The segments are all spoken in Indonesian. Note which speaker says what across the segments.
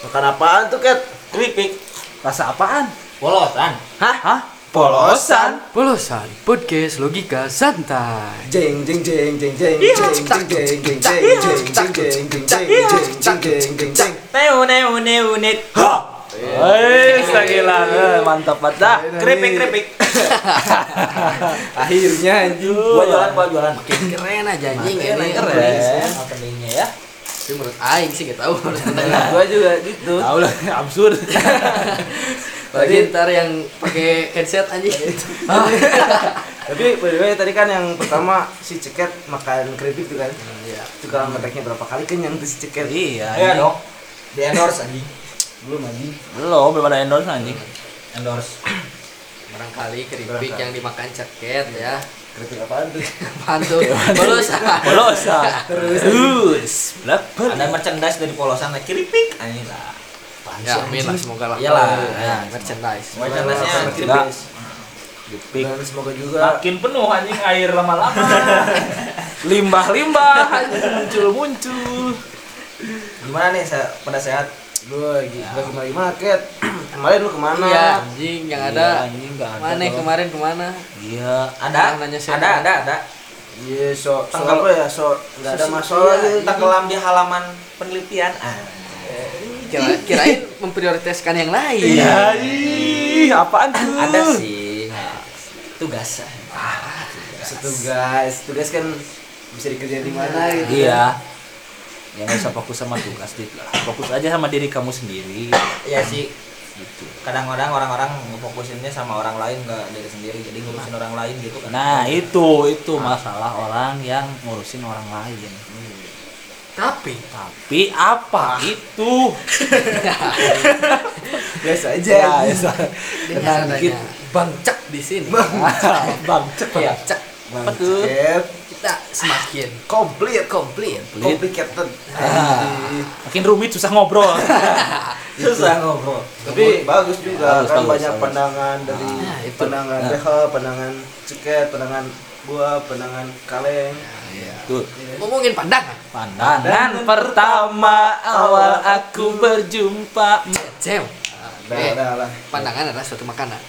Speaker 1: Makan apaan tuh, Cat?
Speaker 2: keripik
Speaker 1: Rasa apaan?
Speaker 2: polosan
Speaker 1: Hah?
Speaker 3: Hah? Polosan?
Speaker 4: Polosan podcast logika santai.
Speaker 3: Jeng jeng jeng jeng jeng jeng jeng jeng jeng jeng jeng jeng jeng jeng jeng jeng jeng jeng
Speaker 2: neu neu neu net
Speaker 1: Hei, gila. Eh, Mantap banget dah.
Speaker 2: keripik keripik
Speaker 3: Akhirnya anjing.
Speaker 2: buat jualan buat jualan
Speaker 4: Keren aja anjing ini.
Speaker 1: Iya, Keren.
Speaker 2: openingnya ya
Speaker 4: Tapi menurut aing sih gak tahu.
Speaker 1: Gua juga gitu. Tahu lah, absurd.
Speaker 4: Bagi ntar yang pakai headset anjing.
Speaker 3: Tapi by the way tadi kan yang pertama si Ceket makan keripik tuh kan. Iya. Tukang ngeteknya berapa kali kenyang tuh si Ceket.
Speaker 2: ya
Speaker 1: Iya.
Speaker 2: dong di endorse anjing
Speaker 3: Belum anjing.
Speaker 1: Belum, belum ada endorse anjing.
Speaker 2: endorse
Speaker 4: Barangkali keripik yang dimakan ceket ya.
Speaker 3: Keripik apaan tuh?
Speaker 4: Pantu. Polosan.
Speaker 1: Polosan. Terus. Blackbird.
Speaker 2: ada merchandise dari polosan lah keripik anjing lah
Speaker 4: Ya, amin lah semoga lah.
Speaker 2: Iyalah.
Speaker 4: Ya, merchandise.
Speaker 2: merchandise nya
Speaker 3: Tidak.
Speaker 2: keripik
Speaker 1: Gepik.
Speaker 3: Dan semoga juga
Speaker 1: Makin penuh anjing air lama-lama. Limbah-limbah anjing muncul-muncul.
Speaker 2: gimana nih saya pada sehat
Speaker 3: lu lagi lagi gimana gimana Ket. Kemarin lu kemana?
Speaker 4: Iya, anjing yang
Speaker 1: Iya,
Speaker 4: ada.
Speaker 1: anjing enggak ada.
Speaker 4: Mana
Speaker 1: dong.
Speaker 4: kemarin kemana?
Speaker 1: Iya.
Speaker 2: ada
Speaker 4: Jangan nanya siapa.
Speaker 2: ada ada ada
Speaker 3: Iya, so, so
Speaker 2: Tanggal-
Speaker 3: apa ya? So, enggak ada
Speaker 2: Susi-
Speaker 3: masalah
Speaker 2: iya,
Speaker 3: gitu.
Speaker 2: tenggelam di halaman penelitian ah
Speaker 4: Kira- Kirain memprioritaskan yang lain. Iya
Speaker 1: Iya. Ih, apaan tuh?
Speaker 2: ada sih tugas
Speaker 3: Setugas, tugas kan bisa dikerjain di mana gitu.
Speaker 1: Iya. Ya nggak usah fokus sama tugas dit lah. Fokus aja sama diri kamu sendiri.
Speaker 2: ya sih
Speaker 1: Gitu.
Speaker 2: kadang-kadang orang-orang ngefokusinnya sama orang lain nggak dari sendiri jadi ngurusin orang lain gitu kan
Speaker 1: Nah itu itu masalah orang yang ngurusin orang lain.
Speaker 4: Tapi
Speaker 1: Tapi apa itu?
Speaker 3: Biasa aja.
Speaker 2: Iya.
Speaker 1: Ya, ya, so-
Speaker 4: dengan adanya Bang Cek di sini.
Speaker 1: Bang cek ya.
Speaker 4: Bang Cek
Speaker 1: Apa tuh?
Speaker 3: Ceket.
Speaker 4: kita semakin
Speaker 3: komplit
Speaker 4: komplit.
Speaker 3: complicated
Speaker 1: Ah, Makin rumit susah ngobrol.
Speaker 2: susah ngobrol
Speaker 3: tapi bagus juga
Speaker 1: Bagus,
Speaker 3: kan
Speaker 1: bagus,
Speaker 3: banyak
Speaker 1: bagus.
Speaker 3: pandangan dari
Speaker 4: Ah, itu.
Speaker 3: pandangan
Speaker 1: Nah.
Speaker 3: BH pandangan ceket pandangan buah pandangan kaleng
Speaker 1: Tuh.
Speaker 4: Ngomongin pandangan.
Speaker 1: Pandangan pertama awal aku berjumpa
Speaker 4: Cem.
Speaker 3: dah
Speaker 4: Eh,
Speaker 3: dah lah
Speaker 4: Pandangan adalah suatu makanan.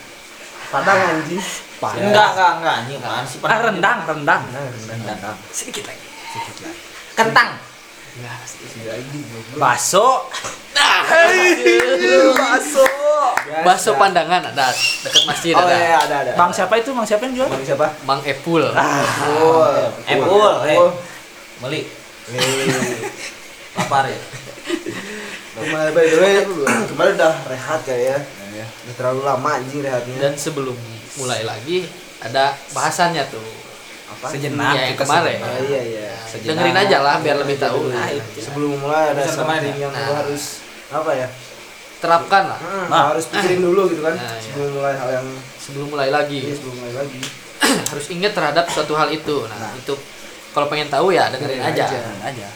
Speaker 3: pandangan jis
Speaker 2: enggak enggak enggak anjing apaan sih
Speaker 1: Ah, rendang, rendang.
Speaker 2: rendang
Speaker 4: Sedikit lagi.
Speaker 2: kentang
Speaker 4: Nah,
Speaker 1: Baso,
Speaker 3: bakso
Speaker 4: bakso pandangan ada dekat masjid
Speaker 3: Nah. oh
Speaker 4: ada.
Speaker 3: iya ada ada
Speaker 1: Bang siapa itu? Bang siapa yang jual?
Speaker 3: bang siapa
Speaker 4: Bang Epul.
Speaker 3: oh
Speaker 2: Epul, eh. beli lapar ya
Speaker 3: kemarin by the way kemarin udah rehat kayak ya udah terlalu lama anjing rehatnya
Speaker 4: Dan sebelum mulai lagi ada bahasannya tuh.
Speaker 3: apa
Speaker 1: Sejenak
Speaker 4: Iya, yang
Speaker 1: kita
Speaker 4: kemarin.
Speaker 1: sejenak.
Speaker 3: oh iya iya
Speaker 1: Sejenak.
Speaker 4: Dengerin aja lah biar lebih tahu.
Speaker 3: Nah,
Speaker 4: Nah,
Speaker 3: itu. sebelum mulai ada
Speaker 2: Bisa kemana
Speaker 3: something
Speaker 2: nih?
Speaker 3: yang
Speaker 4: Nah.
Speaker 3: lu harus apa ya?
Speaker 4: terapkan lah
Speaker 3: Hmm,
Speaker 1: Nah.
Speaker 3: harus pikirin dulu gitu kan
Speaker 4: Nah, iya.
Speaker 3: sebelum mulai hal yang
Speaker 4: sebelum mulai
Speaker 3: iya
Speaker 4: lagi.
Speaker 3: sebelum mulai lagi.
Speaker 4: Iya. Harus ingat terhadap suatu hal itu. Nah, itu kalau pengen tahu ya dengerin
Speaker 3: Dengerin
Speaker 4: aja.
Speaker 3: aja.
Speaker 1: Tenang aja.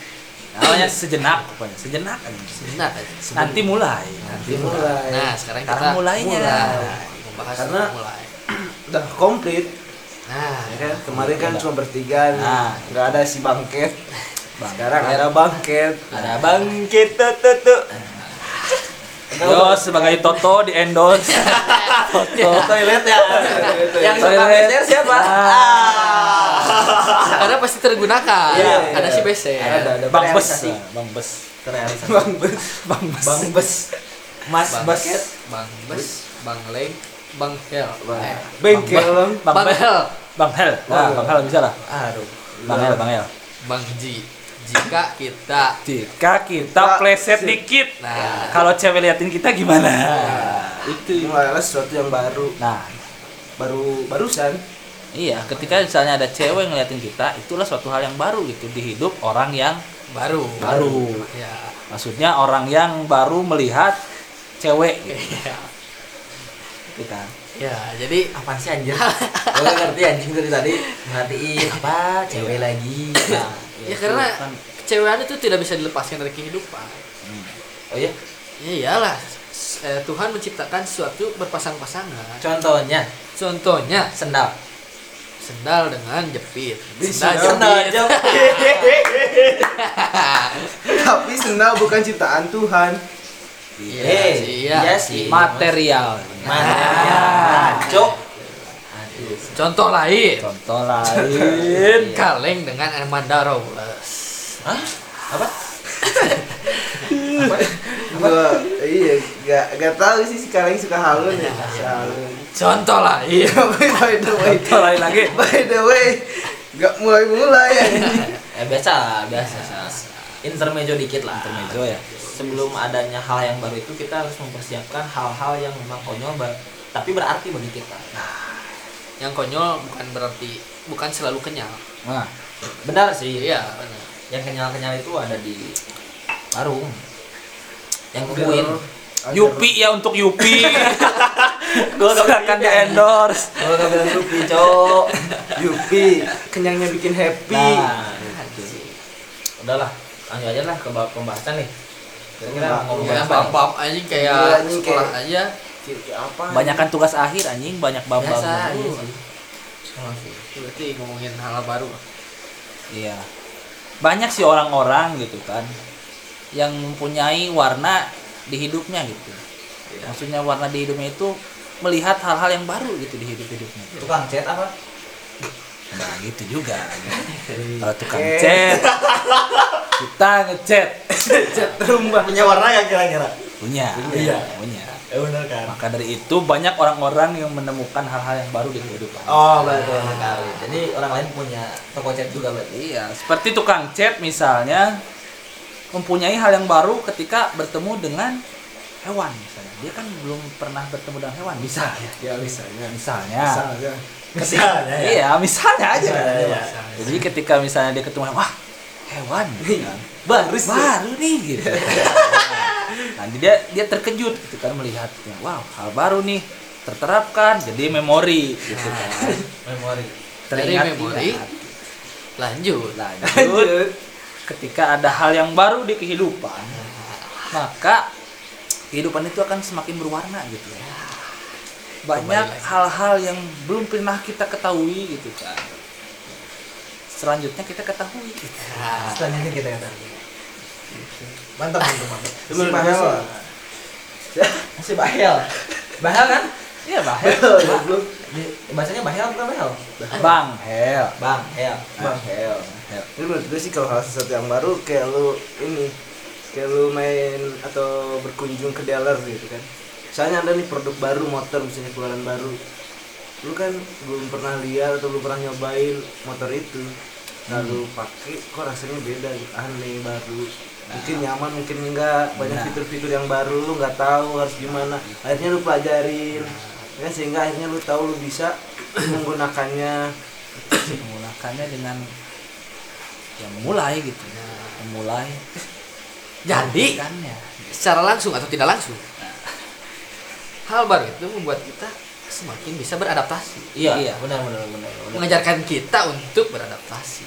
Speaker 1: Namanya sejenak, pokoknya sejenak aja.
Speaker 4: Sejenak aja.
Speaker 1: Nanti mulai.
Speaker 3: Jadi mulai.
Speaker 4: Nah, sekarang kita
Speaker 1: Nah, Sekarang mulainya.
Speaker 4: mulai membahas
Speaker 3: Karena-
Speaker 4: mulai.
Speaker 3: Udah komplit
Speaker 4: Nah,
Speaker 3: ya kan? Kemarin kan cuma bertiga nih.
Speaker 1: Nah.
Speaker 3: Nggak ada si Bangket.
Speaker 1: Bang.
Speaker 3: Sekarang ada Bangket.
Speaker 1: Ada bangkit tutu. Yo sebagai Toto di endorse. Toto.
Speaker 2: toilet ya
Speaker 1: Toilet. Ah.
Speaker 2: yang suka beser siapa
Speaker 4: Ah, karena pasti tergunakan.
Speaker 3: Iya, iya,
Speaker 4: Karena
Speaker 3: iya.
Speaker 4: si BC.
Speaker 3: Ada ada
Speaker 1: Bang Bes,
Speaker 3: realisasi.
Speaker 1: Bang Bes.
Speaker 2: terrealisasi
Speaker 3: Bang Bes.
Speaker 1: Bang Bes.
Speaker 3: Bang Bes.
Speaker 1: Mas
Speaker 4: Bang
Speaker 1: Bes.
Speaker 4: Ket, Bang Bes, Bang Leng, Bang Hel.
Speaker 3: Bang.
Speaker 4: Eh,
Speaker 3: Bengkel. Bang.
Speaker 1: Bang
Speaker 4: Bang
Speaker 1: Bes.
Speaker 4: Hel,
Speaker 1: Bang Hel. Wah, Bang Hel bisa lah.
Speaker 2: aduh
Speaker 1: Bang Hel, Bang Hel.
Speaker 4: Bang Ji. Jika kita
Speaker 1: Jika kita
Speaker 3: Kita-
Speaker 1: pleset dikit,
Speaker 4: Nah.
Speaker 1: kalau cewek liatin kita gimana? Itu.
Speaker 3: Mulai lah sesuatu yang baru,
Speaker 1: Nah,
Speaker 3: baru barusan.
Speaker 1: Iya, ketika misalnya ada cewek ngeliatin kita, itulah suatu hal yang baru gitu di hidup orang yang
Speaker 4: baru
Speaker 1: baru.
Speaker 4: ya
Speaker 1: Maksudnya orang yang baru melihat cewek gitu. kan, Kita.
Speaker 4: ya jadi
Speaker 2: apaan sih anjir gue ngerti anjing dari tadi merhatiin apa cewek lagi Nah,
Speaker 4: ya
Speaker 2: iya.
Speaker 4: karena
Speaker 1: kan-
Speaker 4: kecewahan itu tidak bisa dilepaskan dari kehidupan
Speaker 2: oh iya
Speaker 4: ya iyalah s- eh, Tuhan menciptakan sesuatu berpasang-pasangan
Speaker 2: contohnya
Speaker 4: contohnya
Speaker 2: sendal Nah,
Speaker 4: sendal dengan jepit
Speaker 3: Sendal
Speaker 4: jepit
Speaker 3: Tapi sendal bukan ciptaan Tuhan.
Speaker 4: Iya,
Speaker 2: Eh,
Speaker 4: sih,
Speaker 2: iya sih. Nah,
Speaker 1: material
Speaker 2: Mana? Cok. Aduh.
Speaker 4: Contoh lain.
Speaker 1: contoh lain
Speaker 4: Kaleng dengan Armanda Robles.
Speaker 2: Hah? Apa?
Speaker 3: Gua iya gak gak tahu sih si kaleng suka halun ya. Si Halun.
Speaker 4: Contoh iya. lain.
Speaker 3: by the way.
Speaker 1: contoh lain lagi
Speaker 3: By the way. Gak mulai-mulai ya.
Speaker 2: Eh biasa lah, biasa. Intermejo dikit lah.
Speaker 1: intermezzo ya
Speaker 2: Sebelum adanya hal yang baru itu kita harus mempersiapkan hal-hal yang memang konyol ba- tapi berarti bagi kita. Nah,
Speaker 4: Yang konyol bukan berarti bukan selalu kenyal.
Speaker 1: nah
Speaker 2: benar sih.
Speaker 4: Iya, benar.
Speaker 2: Yang kenyal-kenyal itu ada di warung. Yang kukuin.
Speaker 1: Yupi ya untuk Yupi gue silahkan di endorse
Speaker 2: Kalau nggak bilang kupi, Cok.
Speaker 3: Yupi, kenyangnya bikin happy.
Speaker 2: Nah,
Speaker 4: Kan
Speaker 2: gitu sih.
Speaker 4: Iya,
Speaker 2: Udahlah, lanjut aja lah ke bab pembahasan nih. Kira-kira mau
Speaker 4: Ya,
Speaker 2: bahas apa?
Speaker 4: bab-bab
Speaker 3: Iya,
Speaker 4: anjing kayak
Speaker 3: anjing
Speaker 4: sekolah
Speaker 3: kayak-
Speaker 4: aja.
Speaker 3: Apa?
Speaker 1: banyakkan tugas akhir anjing banyak bab bab
Speaker 2: Biasa aja sih. Oh, sih.
Speaker 4: Berarti ngomongin hal baru.
Speaker 1: iya banyak sih orang-orang gitu kan yang mempunyai warna di hidupnya gitu maksudnya warna di hidupnya itu melihat hal-hal yang baru gitu di hidup hidupnya
Speaker 2: Tukang cat apa?
Speaker 1: Nah gitu juga. Kalau tukang cat, kita ngecat
Speaker 3: Cat rumah.
Speaker 2: Punya warna gak kira-kira?
Speaker 1: punya,
Speaker 2: Iya.
Speaker 1: punya.
Speaker 2: Ya benar kan.
Speaker 1: Maka dari itu banyak orang-orang yang menemukan hal-hal yang baru di kehidupan.
Speaker 2: Oh, betul sekali. Jadi orang lain punya toko cat juga berarti.
Speaker 1: Iya, seperti tukang cat misalnya mempunyai hal yang baru ketika bertemu dengan hewan misalnya. Dia kan belum pernah bertemu dengan hewan misalnya.
Speaker 3: Ya misalnya.
Speaker 1: Misalnya.
Speaker 3: Misalnya.
Speaker 2: Misalnya
Speaker 1: Iya, misalnya aja.
Speaker 2: Misalnya, iya.
Speaker 1: Jadi ketika misalnya dia ketemu wah hewan gitu kan.
Speaker 3: Baru sih.
Speaker 1: baru nih gitu. Nanti dia dia terkejut gitu kan melihatnya. Wow, hal baru nih terterapkan jadi memori gitu kan.
Speaker 2: Memori.
Speaker 4: Dari
Speaker 1: Teringat-ingat.
Speaker 4: memori lanjut.
Speaker 1: Lanjut ketika ada hal yang baru di kehidupan, maka kehidupan itu akan semakin berwarna gitu ya. Banyak
Speaker 4: Kembali lagi.
Speaker 1: hal-hal yang belum pernah kita ketahui gitu kan. Selanjutnya kita ketahui. Gitu.
Speaker 2: Selanjutnya kita kata. Mantap, mantap, mantap.
Speaker 3: Si Mahel.
Speaker 2: Masih bahel. Bahel kan?
Speaker 1: Iya, bahel.
Speaker 3: Oh,
Speaker 2: Belum. Bacanya bahel bukan bahel?
Speaker 1: Bang, hel.
Speaker 2: Bang, hel.
Speaker 3: Bang Hel. Ini menurut gue sih kalau hal sesuatu yang baru kayak lu ini kayak lu main atau berkunjung ke dealer gitu kan. Misalnya ada nih produk baru motor misalnya keluaran baru. Lu kan belum pernah lihat atau belum pernah nyobain motor itu. Lalu pakai kok rasanya beda gitu, aneh baru. Mungkin nyaman, mungkin enggak. Banyak fitur-fitur yang baru lu nggak tahu harus gimana. Akhirnya lu pelajarin. Ya, sehingga akhirnya lu tahu lu bisa menggunakannya.
Speaker 1: Menggunakannya dengan yang memulai gitu. Memulai
Speaker 4: Nah, Jadi,
Speaker 1: menggunakannya.
Speaker 4: secara langsung atau tidak langsung, hal baru itu membuat kita semakin bisa beradaptasi.
Speaker 2: Iya,
Speaker 1: Iya.
Speaker 2: benar benar benar. benar.
Speaker 4: Mengajarkan kita untuk beradaptasi.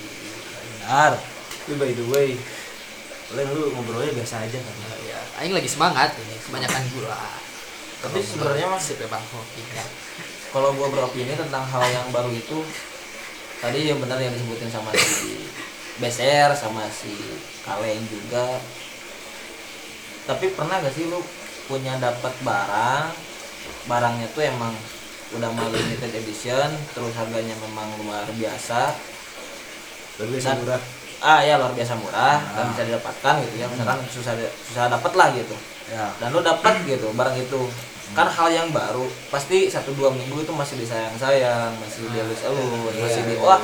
Speaker 1: Benar.
Speaker 3: Tapi by the way, Leng lu ngobrolnya biasa aja kan?
Speaker 4: Nah, ya, Aing lagi semangat ini, kebanyakan gula.
Speaker 2: Tapi sebenarnya masih
Speaker 4: sip bang Hoki ya.
Speaker 2: kalau gua beropini tentang hal yang baru itu tadi yang benar yang disebutin sama si BSR sama si Kaleng juga tapi pernah gak sih lu punya dapat barang barangnya tuh emang udah mau limited edition terus harganya memang luar biasa
Speaker 3: Tapi biasa
Speaker 2: Dan-
Speaker 3: murah.
Speaker 2: ah ya luar biasa murah nggak
Speaker 1: Ah.
Speaker 2: bisa didapatkan gitu ya misalkan susah susah dapat lah gitu
Speaker 1: Hmm. Ya.
Speaker 2: dan lu dapat gitu barang itu kan hal yang baru pasti satu dua minggu itu masih disayang sayang masih
Speaker 1: Ah,
Speaker 2: dielus
Speaker 1: iya,
Speaker 2: elus masih di wah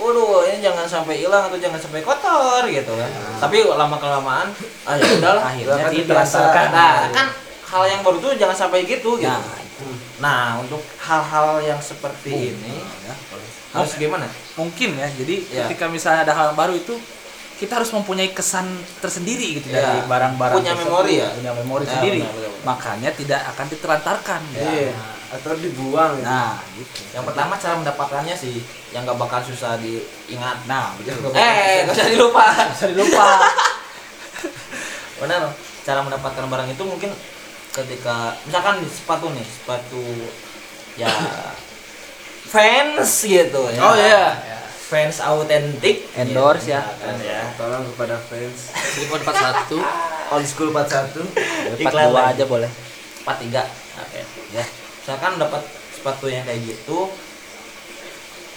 Speaker 2: waduh ini jangan sampai hilang atau jangan sampai kotor gitu kan tapi lama kelamaan ah ya udahlah
Speaker 1: Ah. Akhirnya
Speaker 3: Akan
Speaker 1: dirasakan.
Speaker 2: nah kan hal yang baru tuh jangan sampai gitu gitu
Speaker 1: Nah,
Speaker 2: nah untuk hal-hal yang seperti ini
Speaker 1: ya.
Speaker 2: harus gimana
Speaker 1: mungkin ya jadi
Speaker 2: Ya.
Speaker 1: ketika misalnya ada hal yang baru itu kita harus mempunyai kesan tersendiri gitu
Speaker 2: Ya.
Speaker 1: dari barang-barang
Speaker 2: Punya
Speaker 1: tersebut.
Speaker 2: memori ya?
Speaker 1: punya memori
Speaker 2: Ya,
Speaker 1: sendiri
Speaker 2: benar, benar, benar.
Speaker 1: makanya tidak akan ditelantarkan ya.
Speaker 3: Iya. Atau dibuang gitu.
Speaker 1: nah gitu
Speaker 2: yang pertama cara mendapatkannya sih yang gak bakal susah diingat
Speaker 1: nah betul
Speaker 2: eh gak usah dilupa
Speaker 1: bisa dilupa
Speaker 2: benar cara mendapatkan barang itu mungkin ketika misalkan sepatu nih sepatu ya fans gitu ya
Speaker 3: Oh, iya.
Speaker 4: Ya.
Speaker 2: fans autentik
Speaker 1: Endorse ya.
Speaker 2: misalkan ya
Speaker 3: Tolong kepada fans.
Speaker 4: Slip on 41
Speaker 3: old school 41
Speaker 1: Part
Speaker 2: Iklan
Speaker 1: dua
Speaker 2: lagi.
Speaker 1: aja boleh.
Speaker 2: empat tiga oke ya misalkan dapat sepatu yang kayak gitu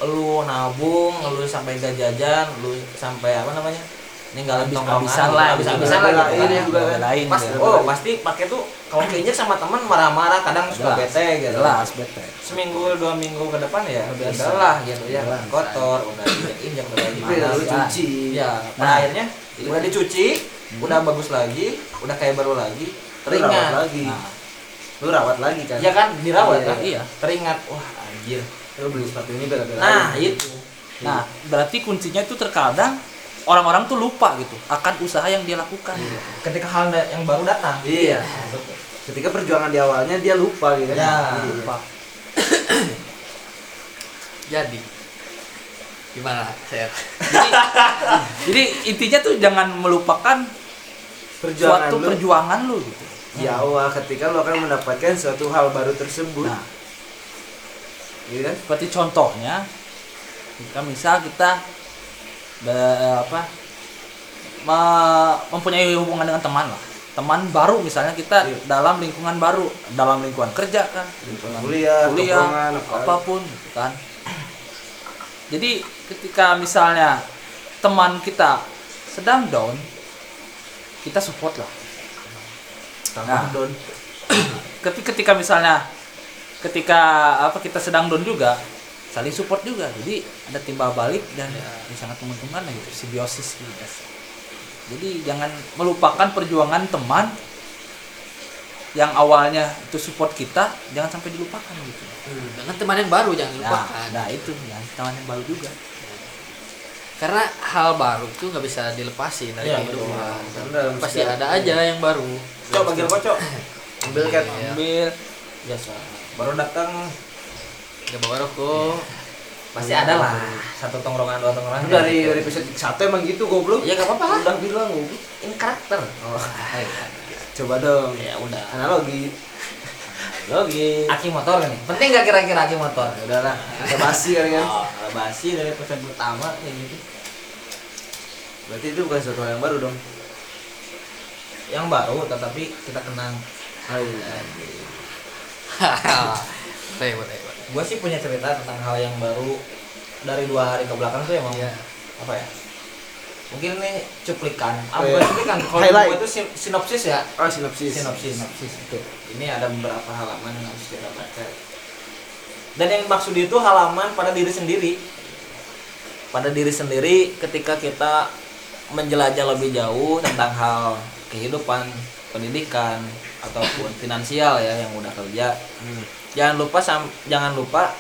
Speaker 2: lu nabung lu sampai gak jajan lu sampai apa namanya ninggalin
Speaker 1: Habis-
Speaker 2: tongkrongan,
Speaker 1: habisan
Speaker 2: lu
Speaker 1: lah, Iya,
Speaker 2: habis-habisan lah
Speaker 3: gitu.
Speaker 2: gitu kan.
Speaker 3: Ini juga kan.
Speaker 1: Belain
Speaker 2: pas
Speaker 1: gitu.
Speaker 2: oh pasti pakai tuh kalau keinjek sama teman marah-marah kadang suka
Speaker 1: Jelas.
Speaker 2: bete gitu
Speaker 1: Jelas bete.
Speaker 2: seminggu dua minggu ke depan ya udah
Speaker 3: Bisa.
Speaker 2: lah gitu ya
Speaker 3: Bisa.
Speaker 2: kotor udah diinjak udah
Speaker 3: Tapi
Speaker 2: gimana
Speaker 3: lalu
Speaker 2: ya.
Speaker 3: cuci
Speaker 2: ya pada
Speaker 1: Nah.
Speaker 2: akhirnya udah dicuci udah bagus lagi udah kayak baru lagi
Speaker 3: lu rawat
Speaker 2: teringat
Speaker 3: lagi
Speaker 1: Nah,
Speaker 3: lu rawat lagi kan
Speaker 2: ya kan dirawat
Speaker 3: Iya,
Speaker 2: kan
Speaker 1: iya.
Speaker 2: teringat wah anjir
Speaker 3: lu beli sepatu ini gara-gara
Speaker 2: nah
Speaker 3: ini.
Speaker 2: itu
Speaker 1: nah, berarti kuncinya itu terkadang orang-orang tuh lupa gitu akan usaha yang dia lakukan.
Speaker 2: Iya. ketika hal da- yang baru datang
Speaker 3: iya ketika perjuangan di awalnya dia lupa gitu kan
Speaker 2: Ya,
Speaker 3: Iya.
Speaker 1: Lupa.
Speaker 4: jadi gimana saya
Speaker 1: Jadi, jadi intinya tuh jangan melupakan
Speaker 3: perjuangan
Speaker 1: suatu
Speaker 3: lu
Speaker 1: perjuangan lu gitu.
Speaker 3: di awal ketika lu akan mendapatkan suatu hal baru tersebut
Speaker 1: Nah,
Speaker 3: gitu kan
Speaker 1: seperti contohnya kita misal kita be- apa me- mempunyai hubungan dengan teman lah teman baru misalnya kita
Speaker 3: Iya.
Speaker 1: dalam lingkungan baru dalam lingkungan kerja kan lingkungan
Speaker 3: kuliah,
Speaker 1: kuliah
Speaker 3: tongkrongan, apa-
Speaker 1: apapun gitu kan jadi ketika misalnya teman kita sedang down kita support lah Nah.
Speaker 3: Don.
Speaker 1: tapi ketika misalnya ketika apa kita sedang down juga saling support juga jadi ada timbal balik dan ya, sangat menguntungkan lah gitu simbiosis gitu guys. jadi jangan melupakan perjuangan teman yang awalnya itu support kita jangan sampai dilupakan gitu
Speaker 4: dengan teman yang baru jangan kan.
Speaker 1: nah,
Speaker 4: lupakan
Speaker 1: nah itu ya teman yang baru juga
Speaker 4: karena hal baru tuh nggak bisa dilepasin dari
Speaker 2: Iya,
Speaker 4: kehidupan
Speaker 3: betul. Iya. Dalam
Speaker 4: pasti
Speaker 3: setiap-
Speaker 4: ada aja yang baru
Speaker 2: cok panggil kocok
Speaker 3: ambil kan
Speaker 4: Iya.
Speaker 1: ambil
Speaker 2: biasa baru datang
Speaker 4: nggak bawa rokok
Speaker 2: pasti ada lah satu tongkrongan dua tongkrongan
Speaker 3: Lu dari dari episode satu emang gitu goblok
Speaker 2: ya gak apa-apa lah
Speaker 3: udah bilang goblok
Speaker 2: ini karakter
Speaker 3: oh, coba dong
Speaker 2: ya udah
Speaker 3: analogi analogi
Speaker 2: aki motor nih penting gak kira-kira aki motor
Speaker 3: Ya udahlah kita basi kali kan
Speaker 2: Oh, basi dari pesan pertama kayak gitu.
Speaker 3: berarti itu bukan suatu hal yang baru dong
Speaker 2: Yang baru tetapi kita kenang.
Speaker 3: Hal yang-
Speaker 4: boleh boleh boleh.
Speaker 2: Gue sih punya cerita tentang hal yang baru dari dua hari ke belakang tuh emang
Speaker 4: Iya.
Speaker 2: apa ya? Mungkin ini cuplikan.
Speaker 3: Oh,
Speaker 2: Apa
Speaker 3: iya.
Speaker 2: cuplikan? Kalau
Speaker 3: Highlight.
Speaker 2: gua itu sin- sinopsis ya.
Speaker 3: oh sinopsis
Speaker 2: Sinopsis.
Speaker 3: itu
Speaker 2: Ini ada beberapa halaman yang harus kita baca. Dan yang maksud itu halaman pada diri sendiri. Pada diri sendiri ketika kita menjelajah lebih jauh tentang hal kehidupan, pendidikan ataupun finansial ya yang udah kerja. Jangan lupa sam- jangan lupa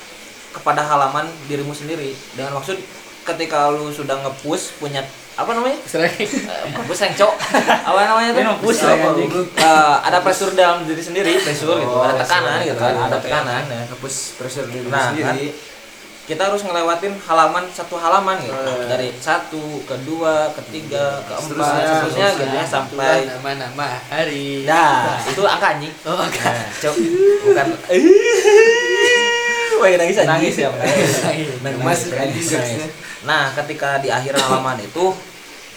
Speaker 2: kepada halaman dirimu sendiri. Dengan maksud ketika lu sudah nge-push punya apa namanya?
Speaker 4: Sering.
Speaker 2: Eh, bukan pusing cok apa namanya tuh
Speaker 1: Minum pusing,
Speaker 2: Apa,
Speaker 1: anjing.
Speaker 2: lu? Eh, ada pressure dalam diri sendiri pressure gitu
Speaker 3: Oh,
Speaker 2: ada tekanan
Speaker 3: pressure.
Speaker 2: gitu kan ada
Speaker 3: Oke,
Speaker 2: tekanan ya.
Speaker 3: hapus pressure diri
Speaker 2: Nah,
Speaker 3: sendiri
Speaker 2: kita harus ngelewatin halaman satu halaman gitu
Speaker 3: Eh.
Speaker 2: dari satu kedua ketiga keempat
Speaker 3: Seterusnya,
Speaker 2: seterusnya
Speaker 3: seterusnya.
Speaker 2: gitu ya sampai
Speaker 4: Tuhan, nama-nama hari
Speaker 2: nah itu angka anjing
Speaker 4: oh enggak
Speaker 2: Nah, cok bukan Wah, nangis anjing.
Speaker 1: Nangis ya, nangis.
Speaker 4: Iya.
Speaker 3: Mas,
Speaker 2: nangis,
Speaker 3: nangis.
Speaker 2: nangis. Nah, ketika di akhir halaman itu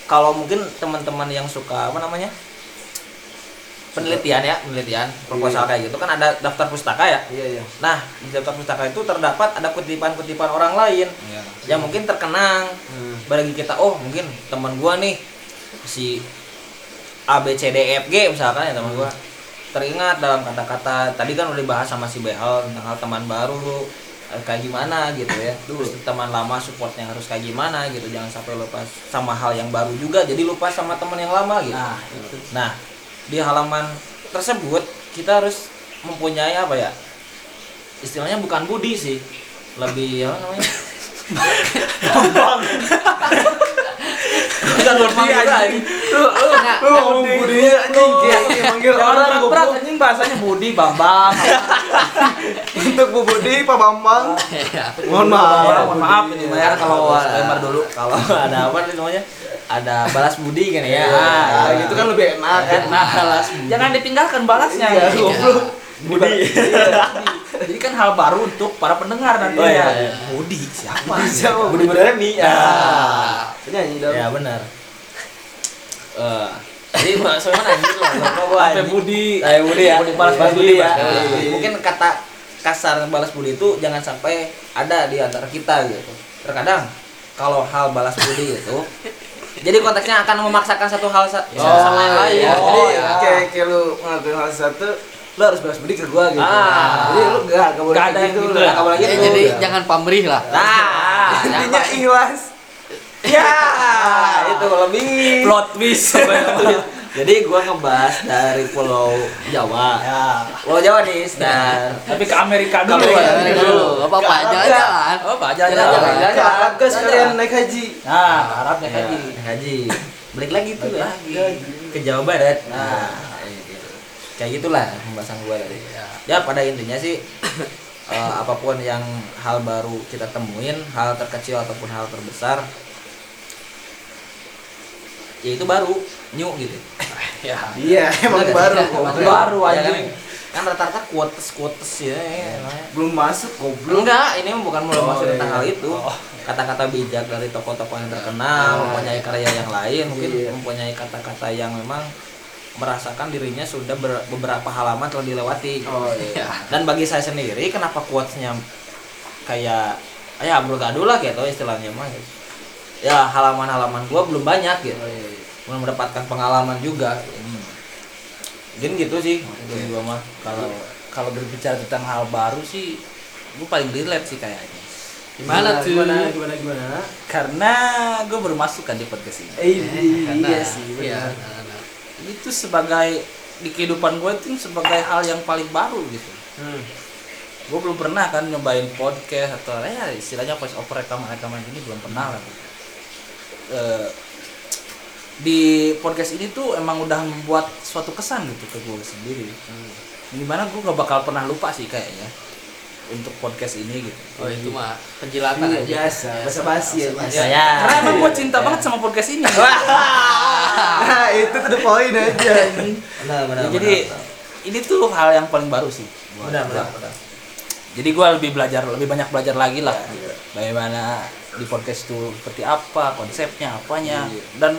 Speaker 2: kalau mungkin teman-teman yang suka apa namanya? penelitian ya, penelitian proposal
Speaker 3: Iya.
Speaker 2: kayak gitu kan ada daftar pustaka ya.
Speaker 3: iya iya
Speaker 2: Nah, di daftar pustaka itu terdapat ada kutipan-kutipan orang lain
Speaker 3: Iya.
Speaker 2: yang mungkin terkenang
Speaker 3: Hmm.
Speaker 2: bagi kita. Oh, mungkin teman gua nih si A B C D E F G misalkan ya teman gua. Teringat dalam kata-kata tadi kan udah dibahas sama si Behal tentang hal teman baru eh, kayak gimana gitu ya. Terus teman lama supportnya harus kayak gimana gitu. Jangan sampai lupa sama hal yang baru juga jadi lupa sama teman yang lama gitu.
Speaker 1: nah itu
Speaker 2: Nah, di halaman tersebut kita harus mempunyai apa ya? Istilahnya bukan budi sih. Lebih apa namanya? Bukan normal juga ini.
Speaker 4: Enggak,
Speaker 3: lu ngomong budinya anjing kayak kayak manggil orang
Speaker 1: orang Iya, berat
Speaker 3: goblok
Speaker 1: anjing bahasanya Budi Bambang
Speaker 3: untuk bu budi pak bambang
Speaker 4: Iya.
Speaker 3: mohon maaf
Speaker 1: Orang, mohon maaf
Speaker 3: Budi.
Speaker 1: ini bayar kalau disclaimer dulu
Speaker 2: kalau ada apa namanya? Ada balas budi kan ya.
Speaker 3: ya
Speaker 2: Nah,
Speaker 3: gitu kan lebih enak kan
Speaker 2: Nah, balas
Speaker 1: Iya. jangan ditinggalkan balasnya
Speaker 3: Iya,
Speaker 1: gitu. Iya,
Speaker 3: goblok
Speaker 2: budi.
Speaker 1: Jadi kan hal baru untuk para pendengar nantinya.
Speaker 2: Oh, iya, iya.
Speaker 1: Budi siapa? Iya.
Speaker 3: siapa
Speaker 2: Budi
Speaker 3: Iya.
Speaker 2: berani. Ya.
Speaker 3: penyanyi dong
Speaker 2: Ya benar. Eh, Jadi maksudnya anjir loh. Kenapa gua
Speaker 1: Sampai
Speaker 2: anjing?
Speaker 1: Budi.
Speaker 2: Sampai Budi ya.
Speaker 1: Budi, balas
Speaker 2: Sampai
Speaker 1: Budi ya.
Speaker 2: balas Budi.
Speaker 3: Iya.
Speaker 2: Mungkin kata kasar balas Budi itu jangan sampai ada di antara kita gitu. Terkadang kalau hal balas Budi itu jadi konteksnya akan memaksakan satu hal sa-
Speaker 4: Ya,
Speaker 2: sama
Speaker 4: sama
Speaker 2: yang
Speaker 4: lain.
Speaker 2: lain.
Speaker 3: Iya,
Speaker 4: Oh,
Speaker 3: jadi
Speaker 4: iya.
Speaker 3: kayak kayak lu ngelakuin hal satu, lu harus balas budi ke gua gitu.
Speaker 2: Ah.
Speaker 3: Jadi lu gak, gak boleh
Speaker 2: Nggak
Speaker 3: kayak
Speaker 2: ada
Speaker 3: gitu,
Speaker 2: gitu
Speaker 3: lu
Speaker 2: ya.
Speaker 3: gak boleh
Speaker 4: Ya,
Speaker 3: gitu.
Speaker 4: jadi
Speaker 3: Udah.
Speaker 4: jangan pamrih lah.
Speaker 2: Nah, jangan
Speaker 3: intinya ikhlas.
Speaker 2: Ya, itu lebih.
Speaker 1: Plot twist.
Speaker 2: Jadi gua ngebahas dari Pulau Jawa.
Speaker 3: Ya.
Speaker 2: Pulau Jawa nih, dan
Speaker 1: Tapi ke Amerika dulu.
Speaker 2: Ke
Speaker 1: ya.
Speaker 2: Amerika
Speaker 4: Jangan dulu, nggak apa-apa,
Speaker 3: Iya, Nggak,
Speaker 4: jalan-jalan.
Speaker 1: Oh, Pak
Speaker 4: Jalan-jalan.
Speaker 1: jalan-jalan.
Speaker 3: Nah, Ke Arab guys kalian naik haji.
Speaker 1: Nah, Arabnya
Speaker 2: Ya,
Speaker 1: tadi.
Speaker 2: Haji. Balik lagi tuh
Speaker 3: Balik
Speaker 2: ya.
Speaker 3: lagi.
Speaker 2: Ke Jawa Barat.
Speaker 3: Nah.
Speaker 2: Nah, gitu. kayak gitulah pembahasan gua tadi.
Speaker 3: Iya.
Speaker 2: Ya pada intinya sih eh, apapun yang hal baru kita temuin, hal terkecil ataupun hal terbesar ya itu baru new gitu.
Speaker 1: Ya.
Speaker 3: Iya, emang
Speaker 2: Iya,
Speaker 3: baru
Speaker 2: iya,
Speaker 3: goblok.
Speaker 2: emang baru
Speaker 1: Iya,
Speaker 2: aja.
Speaker 1: kan?
Speaker 2: Kan rata-rata quotes quotes ya.
Speaker 3: Iya.
Speaker 2: ya, namanya.
Speaker 3: Belum masuk goblok.
Speaker 2: Enggak, ini bukan mulai
Speaker 3: Oh,
Speaker 2: masuk tentang
Speaker 3: iya.
Speaker 2: hal itu.
Speaker 1: Oh.
Speaker 2: Kata-kata bijak dari tokoh-tokoh yang terkenal, mempunyai karya yang lain, mungkin
Speaker 3: Iya.
Speaker 2: mempunyai kata-kata yang memang merasakan dirinya sudah ber- beberapa halaman telah dilewati.
Speaker 3: Oh iya.
Speaker 2: Dan bagi saya sendiri, kenapa quotes-nya kayak ya amburadul lah gitu istilahnya mah. gitu. Ya halaman-halaman gua belum banyak gitu.
Speaker 3: Oh, iya.
Speaker 2: Belum mendapatkan pengalaman juga. Mungkin gitu sih dari gua mah
Speaker 1: Kalau
Speaker 2: kalau
Speaker 1: kalau berbicara tentang hal baru sih gue paling relate sih kayaknya.
Speaker 4: Gimana tuh?
Speaker 3: Gimana gimana gimana?
Speaker 1: Karena gue bermasuk kan di podcast ini.
Speaker 3: Eh,
Speaker 4: Karena-
Speaker 3: iya sih.
Speaker 4: Iya.
Speaker 3: benar.
Speaker 4: karena-
Speaker 1: Itu sebagai di kehidupan gue itu sebagai hal yang paling baru gitu.
Speaker 3: Hmm.
Speaker 1: gue belum pernah kan nyobain podcast atau ya istilahnya voice over rekaman rekaman ini belum pernah lah gitu. Eh, di podcast ini tuh emang udah membuat suatu kesan gitu ke gue sendiri gimana gue gak bakal pernah lupa sih kayaknya untuk podcast ini gitu
Speaker 4: Oh itu mah penjilatan
Speaker 3: Iya,
Speaker 4: aja.
Speaker 3: biasa, bahasa basi ya.
Speaker 4: Basa-basi.
Speaker 3: Iya.
Speaker 2: saya
Speaker 1: karena emang gue cinta banget sama podcast ini
Speaker 3: Nah, itu tuh poin aja.
Speaker 2: benar
Speaker 1: Ya, jadi ini tuh hal yang paling baru sih buat
Speaker 2: benar
Speaker 1: gua.
Speaker 2: benar benar.
Speaker 1: jadi gue lebih belajar lebih banyak belajar lagi lah bagaimana di podcast itu seperti apa konsepnya apanya dan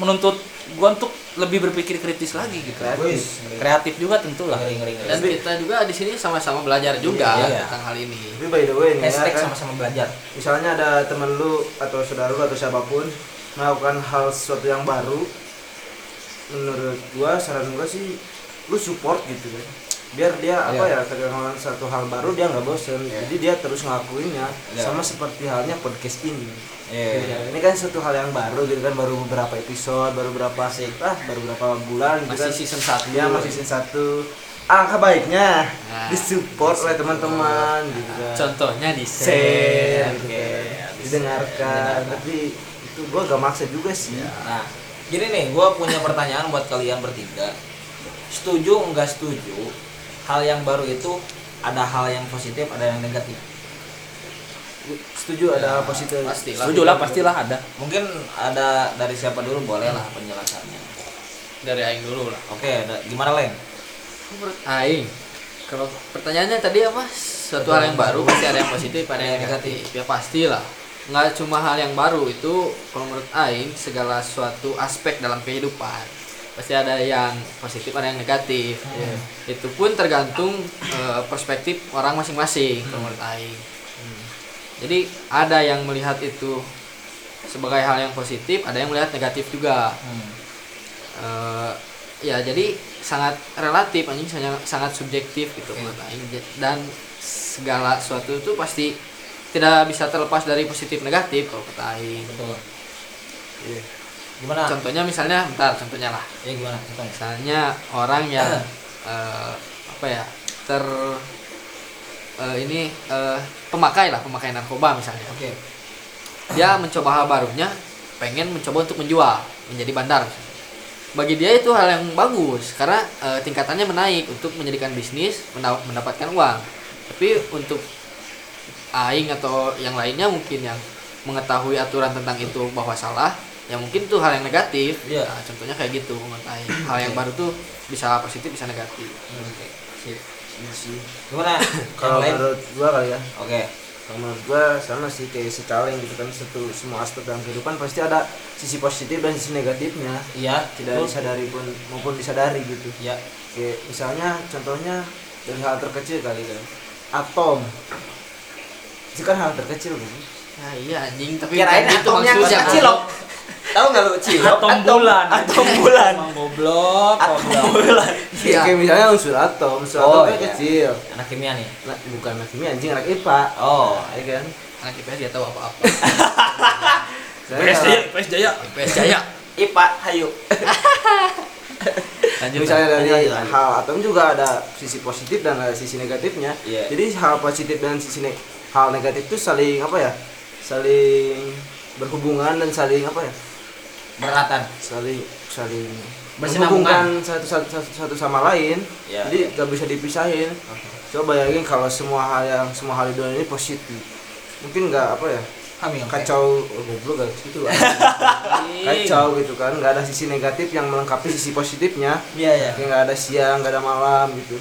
Speaker 1: menuntut gue untuk lebih berpikir kritis lagi gitu
Speaker 3: Kreatif.
Speaker 1: kreatif juga tentulah
Speaker 2: Ngeri, ngeri, ngeri.
Speaker 4: Dan kita juga di sini sama-sama belajar juga
Speaker 1: Iya, iya.
Speaker 4: tentang hal ini.
Speaker 3: Tapi by the way nih ya,
Speaker 2: Hashtag
Speaker 3: kan,
Speaker 2: sama-sama belajar.
Speaker 3: misalnya ada temen lu atau saudara lu atau siapapun melakukan hal sesuatu yang baru menurut gua saran gua sih lu support gitu kan biar dia apa
Speaker 4: Iya.
Speaker 3: ya kedengaran satu hal baru dia nggak bosen jadi dia terus ngelakuinnya
Speaker 2: Iya.
Speaker 3: sama seperti halnya podcast ini
Speaker 2: Iya.
Speaker 3: ini kan satu hal yang baru gitu kan baru beberapa episode baru berapa sih ah baru berapa bulan gitu
Speaker 4: Masih
Speaker 3: kan
Speaker 4: season 1.
Speaker 3: dia masih season satu angka baiknya
Speaker 4: Nah,
Speaker 3: disupport oleh teman-teman gitu kan
Speaker 4: Contohnya di
Speaker 2: Iya.
Speaker 3: share
Speaker 4: share.
Speaker 3: gitu kan. didengarkan tapi itu gua gak maksa juga sih
Speaker 2: Nah, gini nih, gue punya pertanyaan buat kalian bertiga. Setuju nggak setuju? Hal yang baru itu ada hal yang positif, ada yang negatif.
Speaker 3: setuju
Speaker 2: Iya,
Speaker 3: ada hal positif
Speaker 4: Pasti lah.
Speaker 1: setuju lah pastilah ada
Speaker 2: Mungkin ada dari siapa dulu boleh lah penjelasannya.
Speaker 4: Dari aing dulu lah.
Speaker 2: Oke, da- gimana Leng?
Speaker 4: Menurut aing kalau pertanyaannya tadi apa? Suatu hal yang baru pasti ada yang positif, ada yang negatif. Ya pastilah. Nggak cuma hal yang baru itu kalau menurut aing segala suatu aspek dalam kehidupan pasti ada yang positif, ada yang negatif. Itu pun tergantung eh, perspektif orang masing-masing kalau menurut aing. Jadi ada yang melihat itu sebagai hal yang positif, ada yang melihat negatif juga. Eh, ya jadi sangat relatif anjing sangat sangat subjektif gitu menurut aing. dan segala sesuatu itu pasti tidak bisa terlepas dari positif negatif kalau kata aing.
Speaker 2: Betul. Iya. Gimana?
Speaker 4: Contohnya misalnya bentar contohnya lah.
Speaker 2: Ya gimana? Contohnya.
Speaker 4: Misalnya orang yang eh, apa ya ter eh, ini eh, pemakai lah pemakai narkoba misalnya.
Speaker 2: Oke.
Speaker 4: dia mencoba hal barunya pengen mencoba untuk menjual menjadi bandar bagi dia itu hal yang bagus karena eh, tingkatannya menaik untuk menjadikan bisnis menda- mendapatkan uang tapi untuk aing atau yang lainnya mungkin yang mengetahui aturan tentang itu bahwa salah ya mungkin itu hal yang negatif
Speaker 2: Iya.
Speaker 4: Nah, contohnya kayak gitu menurut aing hal yang baru tuh bisa positif bisa negatif
Speaker 2: Oke. Sip.
Speaker 3: Iya sih.
Speaker 2: Gimana? Yang
Speaker 3: kalau
Speaker 2: lain?
Speaker 3: menurut gua kali ya
Speaker 2: Oke.
Speaker 3: Kalau menurut gua sama sih kayak si kaleng gitu kan satu semua aspek dalam kehidupan pasti ada sisi positif dan sisi negatifnya
Speaker 2: Iya,
Speaker 3: tidak
Speaker 2: betul.
Speaker 3: disadari pun maupun disadari gitu
Speaker 2: Iya.
Speaker 3: kayak misalnya contohnya dari hal terkecil kali kan atom itu kan hal terkecil kan
Speaker 4: Nah, iya anjing, tapi
Speaker 2: Kirain
Speaker 4: bukan gitu
Speaker 2: atomnya
Speaker 4: maksudnya.
Speaker 2: cilok. Tahu nggak lu cilok?
Speaker 1: Atom bulan.
Speaker 2: Atom bulan.
Speaker 1: Emang goblok,
Speaker 2: Atom
Speaker 1: goblok.
Speaker 2: bulan.
Speaker 4: Iya.
Speaker 3: kayak misalnya unsur atom unsur
Speaker 2: Oh,
Speaker 3: atom kan
Speaker 2: iya.
Speaker 3: kecil
Speaker 2: Anak kimia nih.
Speaker 3: nah, bukan anak kimia anjing anak ipa
Speaker 2: Oh,
Speaker 3: ya kan
Speaker 4: Anak IPS dia tahu apa-apa.
Speaker 3: Misalnya kalau-
Speaker 1: PS Jaya.
Speaker 4: IPS Jaya.
Speaker 2: IPA, hayu. ya.
Speaker 3: misalnya dari
Speaker 2: Lanjut, lanjut.
Speaker 3: hal atom juga ada sisi positif dan ada sisi negatifnya
Speaker 2: Iya.
Speaker 3: jadi hal positif dan sisi ne- hal negatif itu saling apa ya saling berhubungan dan saling apa ya
Speaker 2: Beratan.
Speaker 3: saling saling
Speaker 2: Bersinambungan.
Speaker 3: menghubungkan satu, satu, satu, satu sama lain
Speaker 2: Ya,
Speaker 3: jadi nggak bisa dipisahin coba bayangin kalau semua hal yang semua hal di dunia ini positif mungkin nggak apa ya
Speaker 2: Hamil.
Speaker 3: kacau oh, goblok gak gitu
Speaker 4: Iya.
Speaker 3: kacau gitu kan nggak ada sisi negatif yang melengkapi sisi positifnya
Speaker 2: Iya, iya.
Speaker 3: kayak nggak ada siang nggak ada malam gitu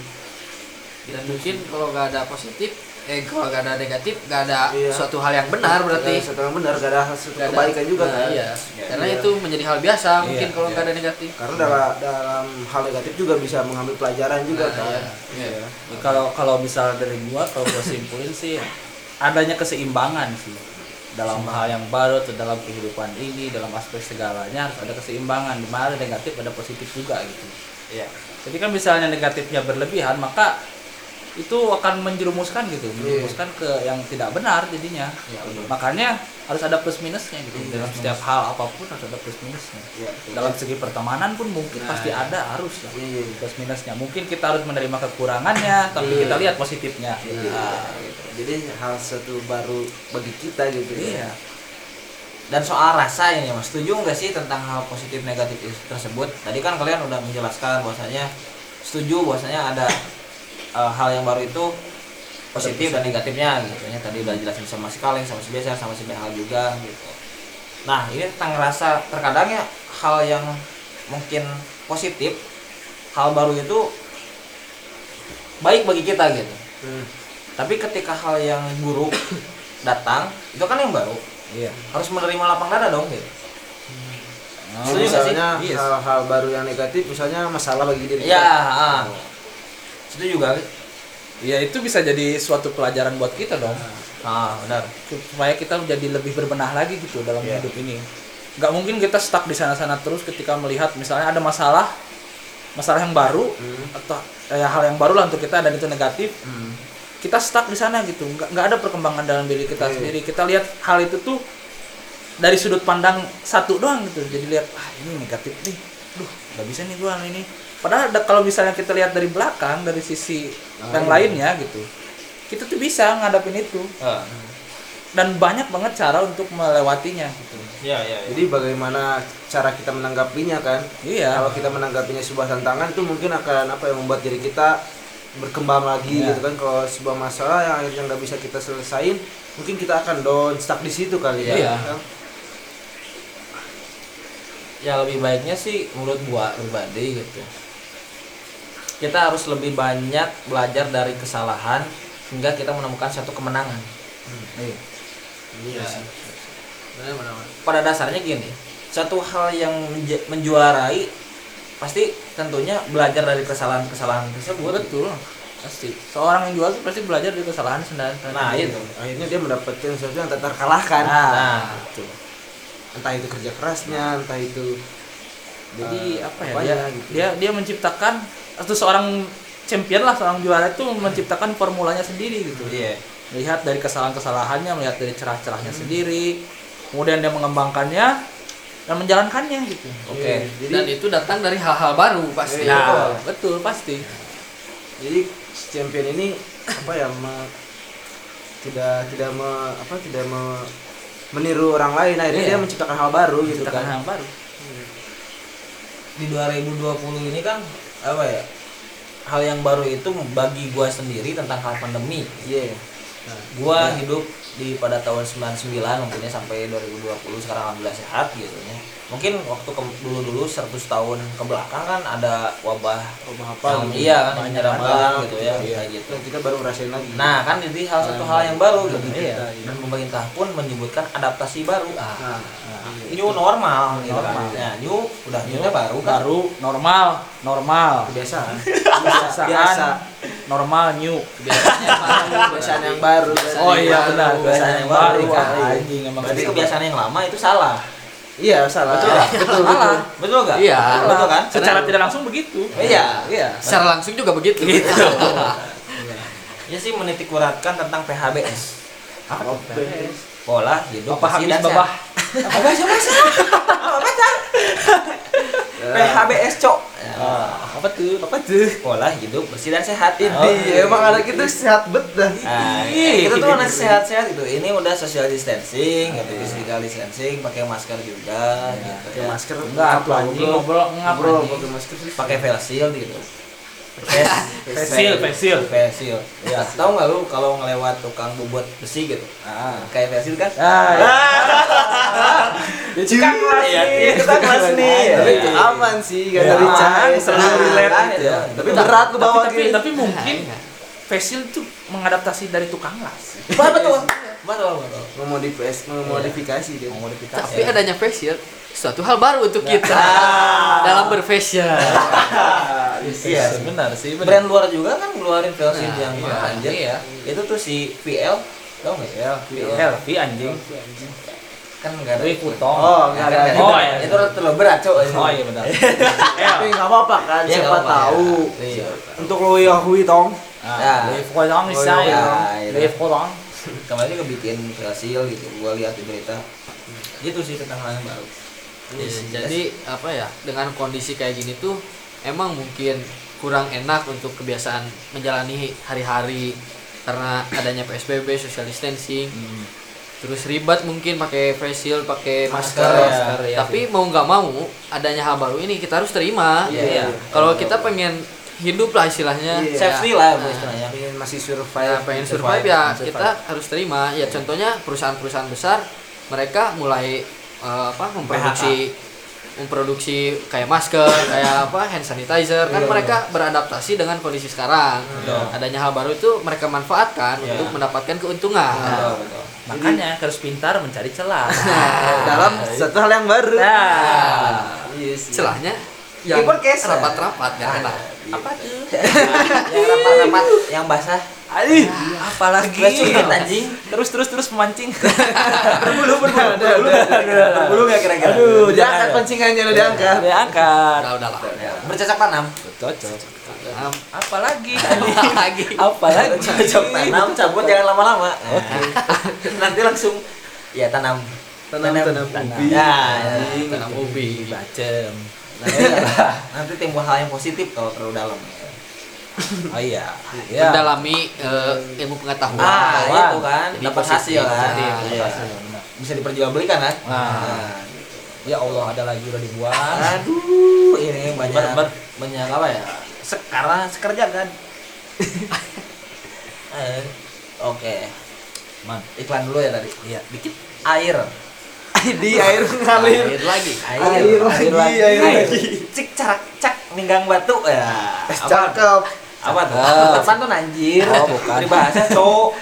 Speaker 4: dan mungkin kalau nggak ada positif eh kalau nggak ada negatif nggak ada
Speaker 3: Iya.
Speaker 4: suatu hal yang benar berarti
Speaker 3: Nggak ada satu yang benar nggak ada hasil
Speaker 4: Nggak ada-
Speaker 3: kebaikan juga
Speaker 4: nah,
Speaker 3: kan
Speaker 4: iya.
Speaker 2: Iya.
Speaker 4: karena
Speaker 3: Iya.
Speaker 4: itu menjadi hal biasa mungkin
Speaker 2: Iya,
Speaker 4: kalau
Speaker 2: iya.
Speaker 4: nggak ada negatif
Speaker 3: karena dalam, dalam hal negatif juga bisa mengambil pelajaran juga
Speaker 4: Nah,
Speaker 3: kan
Speaker 4: iya. Iya.
Speaker 1: Kalau kalau misal dari gua kalau gua simpulin sih adanya keseimbangan sih dalam hal yang baru atau dalam kehidupan ini dalam aspek segalanya harus ada keseimbangan di mana ada negatif ada positif juga gitu.
Speaker 2: Iya.
Speaker 1: Jadi kan misalnya negatifnya berlebihan maka itu akan menjerumuskan gitu, menjerumuskan ke yang tidak benar jadinya.
Speaker 2: Iya, benar.
Speaker 1: Makanya harus ada plus minusnya gitu. dalam setiap hal apapun harus ada plus minusnya. Dalam segi pertemanan pun mungkin pasti ada harus lah.
Speaker 3: Iya.
Speaker 1: Plus minusnya. Mungkin kita harus menerima kekurangannya tapi kita lihat positifnya. Ah,
Speaker 3: Nah, gitu. jadi hal satu baru bagi kita gitu
Speaker 1: Iya.
Speaker 3: ya
Speaker 2: Dan soal rasa ini mas, setuju nggak sih tentang hal positif negatif is- tersebut? Tadi kan kalian udah menjelaskan bahwasanya setuju bahwasanya ada eh, hal yang baru itu positif dan negatifnya gitu ya. Tadi udah jelasin sama si Kaleng, sama si Biasa, sama si Benhal juga gitu. Nah ini tentang rasa terkadang ya hal yang mungkin positif, hal baru itu baik bagi kita gitu.
Speaker 3: Hmm.
Speaker 2: Tapi ketika hal yang buruk datang, itu kan yang baru
Speaker 1: Iya.
Speaker 2: harus menerima lapang dada dong gitu.
Speaker 1: Oh,
Speaker 2: Setuju nggak sih?
Speaker 3: Hmm. misalnya eh,
Speaker 1: Iya.
Speaker 3: hal-hal baru yang negatif misalnya masalah bagi diri
Speaker 2: Iya,
Speaker 3: kita
Speaker 2: ah. Setuju juga.
Speaker 1: Ya itu bisa jadi suatu pelajaran buat kita dong.
Speaker 2: Ah, benar.
Speaker 1: supaya kita menjadi lebih berbenah lagi gitu dalam
Speaker 3: Iya.
Speaker 1: hidup ini nggak mungkin kita stuck di sana-sana terus ketika melihat misalnya ada masalah masalah yang baru
Speaker 2: Hmm.
Speaker 1: atau eh, hal yang baru lah untuk kita dan itu negatif kita stuck di sana gitu nggak nggak ada perkembangan dalam diri kita
Speaker 3: Iya.
Speaker 1: sendiri kita lihat hal itu tuh dari sudut pandang satu doang gitu jadi lihat ah ini negatif nih duh nggak bisa nih gua ini padahal ada- kalau misalnya kita lihat dari belakang dari sisi yang
Speaker 2: iya.
Speaker 1: lainnya gitu kita tuh bisa ngadapin itu
Speaker 2: Ah,
Speaker 1: dan banyak banget cara untuk melewatinya gitu.
Speaker 2: Iya, iya. iya.
Speaker 3: jadi bagaimana cara kita menanggapinya kan
Speaker 1: Iya.
Speaker 3: kalau kita menanggapinya sebuah tantangan itu mungkin akan apa yang membuat diri kita berkembang lagi
Speaker 1: Iya.
Speaker 3: gitu kan kalau sebuah masalah yang akhirnya nggak bisa kita selesain mungkin kita akan down stuck di situ kali ya
Speaker 1: Iya.
Speaker 3: kan?
Speaker 2: Ya lebih baiknya sih menurut gua pribadi gitu. Kita harus lebih banyak belajar dari kesalahan hingga kita menemukan satu kemenangan.
Speaker 1: Iya.
Speaker 3: Iya sih.
Speaker 4: benar benar benar.
Speaker 2: Pada dasarnya gini, satu hal yang menje- menjuarai pasti tentunya belajar dari kesalahan-kesalahan tersebut.
Speaker 1: Betul. Pasti. Seorang yang jual tuh pasti belajar dari kesalahan sendiri.
Speaker 2: Nah, itu.
Speaker 3: iya akhirnya dia mendapatkan sesuatu yang tak terkalahkan Gitu.
Speaker 2: Nah,
Speaker 3: entah itu kerja kerasnya entah itu
Speaker 1: Jadi
Speaker 2: nah,
Speaker 3: eh,
Speaker 1: apa ya?
Speaker 3: apanya
Speaker 1: Dia,
Speaker 3: gitu.
Speaker 1: dia dia menciptakan atau seorang champion lah, seorang juara itu menciptakan formulanya sendiri gitu.
Speaker 2: iya. Hmm.
Speaker 1: Melihat dari kesalahan-kesalahannya, melihat dari cerah-cerahnya sendiri, kemudian dia mengembangkannya dan menjalankannya gitu.
Speaker 2: Oke.
Speaker 3: Iya, jadi
Speaker 4: dan itu datang dari hal-hal baru pasti
Speaker 3: Iya.
Speaker 1: Nah, betul pasti.
Speaker 3: jadi si champion ini apa ya me- tidak tidak me- apa tidak me- meniru orang lain akhirnya
Speaker 1: Iya.
Speaker 3: dia menciptakan hal baru gitu
Speaker 1: Menciptakan hal
Speaker 3: kan
Speaker 1: yang baru.
Speaker 2: Hmm. di 2020 ini kan apa ya hal yang baru itu bagi gua sendiri tentang hal pandemi
Speaker 3: iya
Speaker 2: gua hidup di pada tahun 99 mungkinnya sampai 2020 sekarang alhamdulillah sehat gitu ya mungkin waktu ke- dulu-dulu 100 tahun ke belakang kan ada wabah
Speaker 3: Wabah apa
Speaker 2: yang
Speaker 3: gitu.
Speaker 2: iya kan menyerang
Speaker 3: Banyak
Speaker 2: banget
Speaker 3: banget
Speaker 2: gitu
Speaker 3: gitu,
Speaker 2: ya
Speaker 3: iya.
Speaker 2: kayak gitu
Speaker 3: Dan kita baru ngerasain lagi
Speaker 2: nah kan jadi hal satu hal yang baru gitu
Speaker 3: Iya.
Speaker 2: dan pemerintah pun menyebutkan adaptasi baru ah,
Speaker 3: Nah, iya.
Speaker 2: new normal gitu kan
Speaker 1: Normal.
Speaker 2: Nah, new udah new baru kan
Speaker 1: baru normal normal
Speaker 3: kebiasaan
Speaker 1: kebiasaan
Speaker 3: Biasa.
Speaker 1: normal new
Speaker 4: Biasanya
Speaker 3: kebiasaan yang baru
Speaker 1: oh iya benar
Speaker 2: kebiasaan yang baru,
Speaker 1: Wah,
Speaker 2: kan.
Speaker 1: anjing emang
Speaker 2: berarti kebiasaan yang lama itu salah
Speaker 3: iya salah
Speaker 2: Betul nggak?
Speaker 3: betul betul
Speaker 1: Salah.
Speaker 2: betul gak
Speaker 4: Iya.
Speaker 2: betul kan
Speaker 1: secara tidak langsung begitu
Speaker 2: iya iya
Speaker 4: secara langsung juga begitu.
Speaker 3: Gitu.
Speaker 2: ya sih menitik beratkan tentang PHBS
Speaker 3: Oke.
Speaker 2: pola hidup
Speaker 1: Bapak
Speaker 2: bersih
Speaker 1: Habis
Speaker 2: dan
Speaker 1: Babah.
Speaker 2: sehat. apa sih apa sih apa sih PHBS cok
Speaker 1: Ah, apa tuh
Speaker 3: apa tuh
Speaker 2: pola hidup bersih dan sehat Oh, ini
Speaker 3: Iya, emang anak itu sehat bet dah
Speaker 2: Nah,
Speaker 1: Ih. gitu,
Speaker 2: kita tuh anak sehat-sehat gitu. Ini udah social distancing, gitu, physical distancing, pakai masker
Speaker 1: Iya,
Speaker 2: juga, gitu.
Speaker 3: pakai masker
Speaker 1: enggak tuh anjing ngobrol ngap
Speaker 3: ngobrol
Speaker 1: anjing.
Speaker 3: pakai masker sih
Speaker 2: pakai face shield gitu. Face
Speaker 1: Face shield, face shield.
Speaker 2: face shield. Ya, tahu nggak lu kalau ngelewat tukang bubut besi gitu?
Speaker 1: Ah.
Speaker 2: Kayak face shield kan?
Speaker 1: Ah, iya.
Speaker 2: Tukang kelas
Speaker 1: Iya,
Speaker 2: nih,
Speaker 1: iya.
Speaker 2: kita kelas nih.
Speaker 3: tapi
Speaker 2: Iya.
Speaker 3: aman sih gak
Speaker 1: Iya.
Speaker 3: dari cahaya
Speaker 2: Aman,
Speaker 3: serang
Speaker 2: aman,
Speaker 3: relate
Speaker 2: aman,
Speaker 3: gitu
Speaker 2: iya.
Speaker 3: ya tapi
Speaker 1: Tapi-
Speaker 3: berat lu
Speaker 1: tapi-
Speaker 3: bawa
Speaker 1: tapi,
Speaker 3: gini
Speaker 1: tapi mungkin
Speaker 3: Iya.
Speaker 1: facial tuh mengadaptasi dari tukang las
Speaker 2: Wah, betul. Betul, betul.
Speaker 3: memodifikasi memodifikasi dia
Speaker 2: Komodifikasi.
Speaker 4: Tapi adanya facial suatu hal baru untuk kita dalam berfacial.
Speaker 2: Iya,
Speaker 1: Ah, benar sih
Speaker 2: brand luar juga kan ngeluarin film
Speaker 4: Nah,
Speaker 2: yang
Speaker 4: iya,
Speaker 2: anjir
Speaker 1: iya.
Speaker 2: itu tuh si VL tau nggak VL
Speaker 1: healthy anjing
Speaker 2: kan nggak ada
Speaker 1: Wih, kutong.
Speaker 3: Oh, nggak ada.
Speaker 2: Nggak
Speaker 1: Oh,
Speaker 2: ada.
Speaker 1: iya.
Speaker 2: itu terlalu berat cok
Speaker 1: oh iya benar
Speaker 3: tapi nggak apa-apa kan
Speaker 2: Iya,
Speaker 3: siapa
Speaker 2: nggak apa-apa,
Speaker 3: tahu
Speaker 2: ya. Iya.
Speaker 3: untuk lo Yahui tong
Speaker 2: Nah.
Speaker 1: ah dari kodong misalnya
Speaker 2: iya.
Speaker 1: dari kodong
Speaker 2: kemarin juga bikin hasil gitu gua lihat di berita gitu sih tentang hal yang baru Iya,
Speaker 3: Iya
Speaker 4: Ya, jadi apa ya dengan kondisi kayak gini tuh emang mungkin kurang enak untuk kebiasaan menjalani hari-hari karena adanya PSBB, social distancing,
Speaker 3: Hmm.
Speaker 4: terus ribet mungkin pakai face shield, pakai
Speaker 2: Masker,
Speaker 4: masker,
Speaker 2: ya.
Speaker 3: iya
Speaker 4: masker, tapi mau nggak mau adanya hal baru ini kita harus terima.
Speaker 3: Iya, iya.
Speaker 4: Kalau kita pengen hidup lah istilahnya, Nah,
Speaker 3: Iya.
Speaker 2: safety lah bu istilahnya
Speaker 3: pengen masih
Speaker 4: Ya,
Speaker 3: survive
Speaker 4: pengen
Speaker 2: Iya, survive,
Speaker 4: survive ya
Speaker 3: survive.
Speaker 4: kita harus terima. Ya contohnya perusahaan-perusahaan besar mereka mulai eh, apa memproduksi memproduksi kayak masker, kayak apa hand sanitizer kan mereka beradaptasi dengan kondisi sekarang.
Speaker 2: Iya, Betul.
Speaker 4: Adanya hal baru itu mereka manfaatkan
Speaker 2: Iya.
Speaker 4: untuk mendapatkan keuntungan.
Speaker 2: betul Iya, betul
Speaker 1: makanya harus pintar mencari celah
Speaker 3: dalam
Speaker 1: Iya.
Speaker 3: satu hal yang baru
Speaker 1: Nah.
Speaker 3: Iya sih.
Speaker 4: Celahnya
Speaker 2: Iya.
Speaker 4: yang
Speaker 3: Di podcast, ya?
Speaker 4: rapat-rapat kan enak.
Speaker 2: apa tuh yang rapat-rapat yang basah
Speaker 1: Aduh, apalagi
Speaker 2: Gua cungkit, anjing.
Speaker 1: terus terus terus memancing
Speaker 3: berbulu berbulu berbulu
Speaker 2: berbulu nggak ya kira-kira
Speaker 1: Iya. Aduh,
Speaker 3: diangkat
Speaker 1: jangan ya.
Speaker 3: pancingannya udah diangkat
Speaker 1: diangkat
Speaker 4: Udah udahlah.
Speaker 2: Ya, Iya. bercocok tanam
Speaker 1: cocok
Speaker 4: Am-
Speaker 1: apalagi
Speaker 4: lagi.
Speaker 1: apalagi
Speaker 2: cocok tanam cabut jangan lama-lama nanti langsung ya Nah. tanam
Speaker 3: tanam tanam ubi
Speaker 2: ya,
Speaker 3: anjing.
Speaker 4: Tanam ubi.
Speaker 1: bacem Iya.
Speaker 2: nanti, nanti timbul hal yang positif kalau terlalu dalam
Speaker 1: oh iya ya
Speaker 4: Mendalami eh, ilmu pengetahuan.
Speaker 2: ah
Speaker 1: Wah.
Speaker 2: itu kan
Speaker 4: Jadi
Speaker 2: dapat
Speaker 4: positif,
Speaker 2: hasil kan
Speaker 4: positif,
Speaker 2: Nah,
Speaker 1: Iya,
Speaker 2: iya.
Speaker 1: benar.
Speaker 2: bisa diperjualbelikan kan
Speaker 1: Nah.
Speaker 2: Nah,
Speaker 1: ya Allah ada lagi udah dibuang
Speaker 2: aduh ini banyak
Speaker 1: Ber- ber-
Speaker 2: banyak apa ya sekarang sekerja kan Eh, oke
Speaker 1: man
Speaker 2: iklan dulu ya tadi
Speaker 1: Iya.
Speaker 2: dikit air
Speaker 3: di air ngalir
Speaker 4: Air lagi.
Speaker 3: Air lagi, air lagi.
Speaker 2: cik carak cak ninggang batu ya
Speaker 3: Eh,
Speaker 2: apa
Speaker 3: cakep
Speaker 2: apa tuh
Speaker 1: Ah.
Speaker 2: Apaan tuh anjir
Speaker 1: Oh, bukan.
Speaker 2: bahasa cowok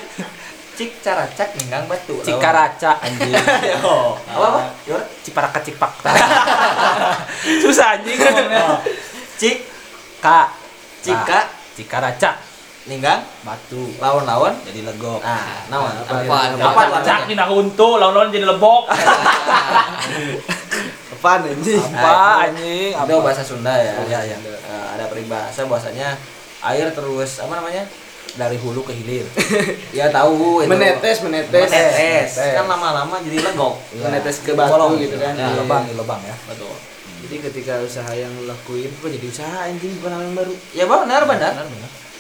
Speaker 2: cik carak cak ninggang batu
Speaker 1: Cikaraca anjing
Speaker 2: Yo. apa apa Gimana?
Speaker 1: Ciparaka Cikpak susah anjing ngomongnya
Speaker 2: cik
Speaker 1: Kak Nah.
Speaker 2: Cika.
Speaker 1: Cikaraca
Speaker 2: ninggang
Speaker 1: batu
Speaker 2: lawan lawan
Speaker 1: jadi legok
Speaker 2: nah naon apa
Speaker 4: Apa?
Speaker 1: Kapan cak nih nah untu lawan-lawan jadi lebok
Speaker 3: apaan anjing
Speaker 1: apa anjing
Speaker 2: itu
Speaker 1: apa
Speaker 2: bahasa Sunda ya
Speaker 1: Iya, iya.
Speaker 2: Eh, ada peribahasa bahasanya air terus apa namanya
Speaker 1: dari hulu ke hilir
Speaker 2: ya tahu itu
Speaker 3: menetes menetes
Speaker 2: menetes kan lama-lama jadi legok
Speaker 3: menetes ke batu
Speaker 2: Bolong.
Speaker 3: gitu kan
Speaker 1: di
Speaker 3: Iya.
Speaker 1: lubang di lubang ya
Speaker 2: betul
Speaker 3: jadi ketika usaha yang lo lakuin kok jadi usaha anjing bukan hal yang baru
Speaker 2: ya benar benar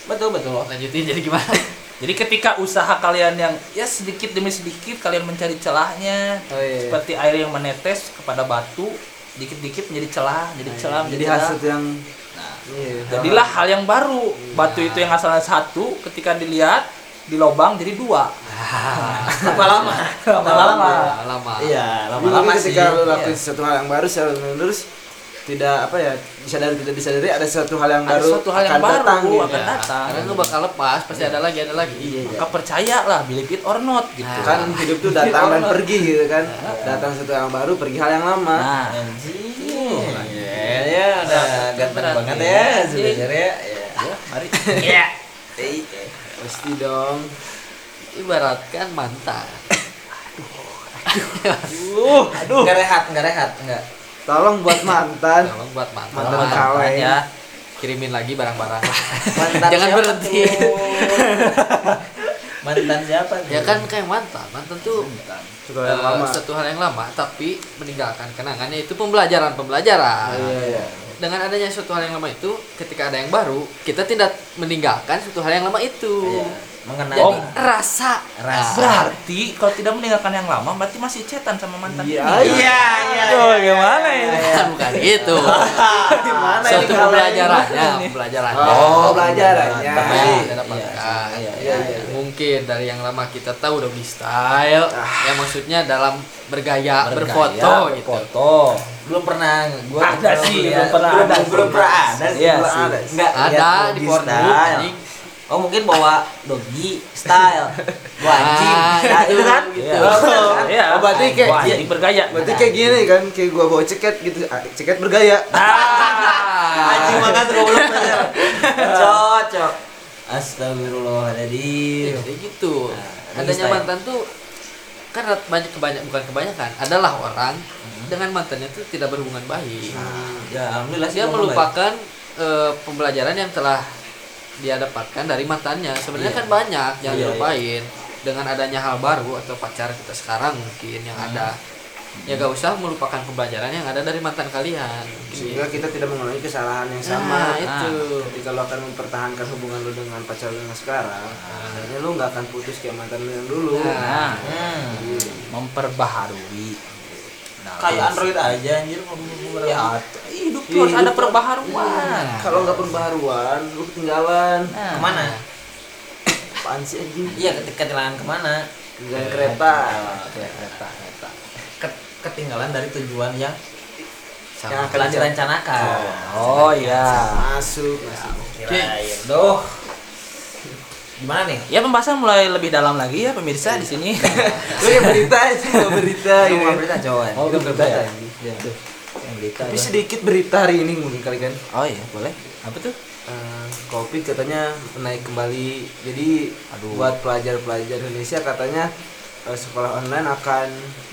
Speaker 2: betul betul
Speaker 4: Lanjutin jadi gimana?
Speaker 1: Jadi ketika usaha kalian yang ya sedikit demi sedikit kalian mencari celahnya
Speaker 3: Oh, iya.
Speaker 1: seperti air yang menetes kepada batu dikit-dikit menjadi celah, jadi celah,
Speaker 3: Nah, iya. jadi
Speaker 1: menjadi
Speaker 3: hasil Iya.
Speaker 1: celah.
Speaker 3: yang iya
Speaker 1: Jadilah hal yang baru. Batu itu yang asalnya satu ketika dilihat di lubang jadi dua
Speaker 2: lama-lama
Speaker 1: lama-lama
Speaker 4: lama
Speaker 2: iya
Speaker 3: Tapi mungkin
Speaker 2: lama-lama sih
Speaker 3: ketika lu
Speaker 2: Iya.
Speaker 3: lakuin sesuatu hal yang baru secara menerus tidak apa ya disadari tidak disadari ada sesuatu hal yang
Speaker 1: ada
Speaker 3: baru
Speaker 1: suatu hal yang
Speaker 3: akan
Speaker 1: baru
Speaker 3: datang, gitu.
Speaker 1: akan datang
Speaker 4: Nah, karena lu bakal lepas pasti ada lagi ada lagi
Speaker 3: Iya, iya.
Speaker 1: maka percayalah believe it or not gitu
Speaker 4: Nah.
Speaker 3: kan hidup tuh datang dan pergi gitu kan datang sesuatu yang baru pergi hal yang lama
Speaker 1: nah
Speaker 2: Anjing. Ya, ya, Iya. udah ganteng
Speaker 1: Berat,
Speaker 2: banget
Speaker 1: iya.
Speaker 2: ya sebenarnya. Ya.
Speaker 1: ya mari
Speaker 2: Eh, eh.
Speaker 4: pasti dong ibaratkan mantan
Speaker 1: uh aduh
Speaker 2: Nggak rehat, nggak rehat, nggak.
Speaker 3: tolong buat mantan
Speaker 4: tolong buat mantan, kan
Speaker 3: Mantan kalah. kaleng.
Speaker 1: ya
Speaker 4: kirimin lagi barang-barang
Speaker 2: Mantan
Speaker 4: jangan
Speaker 2: siapa
Speaker 4: berhenti
Speaker 2: tuh? Mantan siapa? tuh?
Speaker 4: ya kan kayak mantan mantan tuh
Speaker 3: sesuatu yang
Speaker 4: eh,
Speaker 3: lama
Speaker 4: satu hal yang lama tapi meninggalkan kenangannya itu pembelajaran pembelajaran
Speaker 3: iya iya
Speaker 4: dengan adanya suatu hal yang lama itu ketika ada yang baru kita tidak meninggalkan suatu hal yang lama itu
Speaker 2: Iya. Mengenai
Speaker 4: jadi rasa
Speaker 2: Rasa.
Speaker 4: Nah,
Speaker 1: berarti kalau tidak meninggalkan yang lama berarti masih cetan sama mantan
Speaker 3: Iya. Iya.
Speaker 1: ini.
Speaker 2: Iya, iya.
Speaker 1: Aduh, gimana ini?
Speaker 4: bukan bukan itu
Speaker 3: gimana ini
Speaker 4: suatu
Speaker 3: kaleng?
Speaker 4: pembelajarannya pembelajarannya
Speaker 3: Oh, pelajarannya.
Speaker 4: Apa
Speaker 2: Iya,
Speaker 4: yang kita
Speaker 2: iya,
Speaker 4: dapatkan.
Speaker 2: iya,
Speaker 4: Ya,
Speaker 3: iya.
Speaker 4: mungkin dari yang lama kita tahu doggy style
Speaker 2: Ah.
Speaker 4: ya maksudnya dalam bergaya, berfoto gitu
Speaker 1: foto
Speaker 2: belum pernah gua
Speaker 1: Ada
Speaker 2: belum
Speaker 1: sih,
Speaker 2: lihat.
Speaker 1: belum pernah ada sih.
Speaker 2: belum pernah ada sih,
Speaker 1: Iya
Speaker 2: belum
Speaker 1: sih.
Speaker 2: ada Nggak
Speaker 4: ada
Speaker 2: lihat
Speaker 4: di
Speaker 2: doggy
Speaker 4: porno
Speaker 2: style.
Speaker 4: anjing.
Speaker 2: oh mungkin bawa doggy style bawa anjing
Speaker 4: Ah,
Speaker 2: nah, itu kan
Speaker 1: Iya.
Speaker 2: Iya, bener kan?
Speaker 1: Iya.
Speaker 3: Oh, berarti kayak-
Speaker 1: Wah, jadi bergaya. Nah.
Speaker 3: berarti kayak gini kan kayak gua bawa ceket gitu ah, ceket bergaya
Speaker 1: Nah.
Speaker 4: Ah.
Speaker 2: anjing banget goblok bener. cocok astagfirullahaladzim
Speaker 4: jadi gitu
Speaker 2: Iya. Nah,
Speaker 4: adanya
Speaker 2: style.
Speaker 4: mantan tuh kan rat- banyak kebanyak bukan kebanyakan adalah orang
Speaker 2: Hmm.
Speaker 4: dengan mantannya tuh tidak berhubungan baik Nah,
Speaker 2: ya alhamdulillah sih
Speaker 4: dia
Speaker 2: gua
Speaker 4: melupakan eh, pembelajaran yang telah dia dapatkan dari mantannya sebenarnya kan banyak yang
Speaker 2: Iya,
Speaker 4: dilupain dengan adanya hal baru atau pacar kita sekarang mungkin yang
Speaker 2: Hmm.
Speaker 4: ada ya gak usah melupakan pembelajaran yang ada dari mantan kalian
Speaker 2: Iya,
Speaker 4: mungkin.
Speaker 3: sehingga kita tidak mengulangi kesalahan yang
Speaker 4: Nah,
Speaker 3: sama
Speaker 4: itu
Speaker 3: ketika lo akan mempertahankan hubungan lo dengan pacar lo yang sekarang akhirnya lo nggak akan putus kayak mantan lo yang dulu
Speaker 1: Ah. Nah,
Speaker 2: baik. hmm.
Speaker 1: memperbaharui. Nah,
Speaker 2: kayak android aja anjir ngomong-ngomong
Speaker 1: ya,
Speaker 2: orang.
Speaker 1: hidup tuh harus
Speaker 3: Hidup Nah.
Speaker 1: ada
Speaker 3: tuh-
Speaker 1: perbaharuan.
Speaker 3: Ah, kalau nggak pembaruan lo ketinggalan
Speaker 1: Nah.
Speaker 2: kemana
Speaker 3: apaan sih anjing
Speaker 2: iya ketika ketinggalan kemana
Speaker 3: ketinggalan kereta
Speaker 2: kereta kereta Ket- ketinggalan dari tujuan yang
Speaker 4: sama.
Speaker 3: Yang
Speaker 2: telah direncanakan
Speaker 1: Oh iya.
Speaker 3: masuk masuk
Speaker 2: Kirain doh. Gimana nih?
Speaker 1: Ya pembahasan mulai lebih dalam lagi ya pemirsa di sini.
Speaker 3: Lu kayak berita sih, nggak berita
Speaker 2: Kita
Speaker 3: gitu
Speaker 2: mau
Speaker 3: kan.
Speaker 2: berita Jawa.
Speaker 1: Oh,
Speaker 2: Itu
Speaker 1: berita ya?
Speaker 2: anjing. Iya. Yang berita.
Speaker 3: Tapi
Speaker 2: Bang.
Speaker 3: sedikit berita hari ini mungkin kali kan.
Speaker 1: Oh iya, boleh. Apa tuh?
Speaker 3: Eh, Covid katanya naik kembali. Jadi
Speaker 1: Aduh.
Speaker 3: buat pelajar-pelajar Indonesia katanya eh, sekolah online akan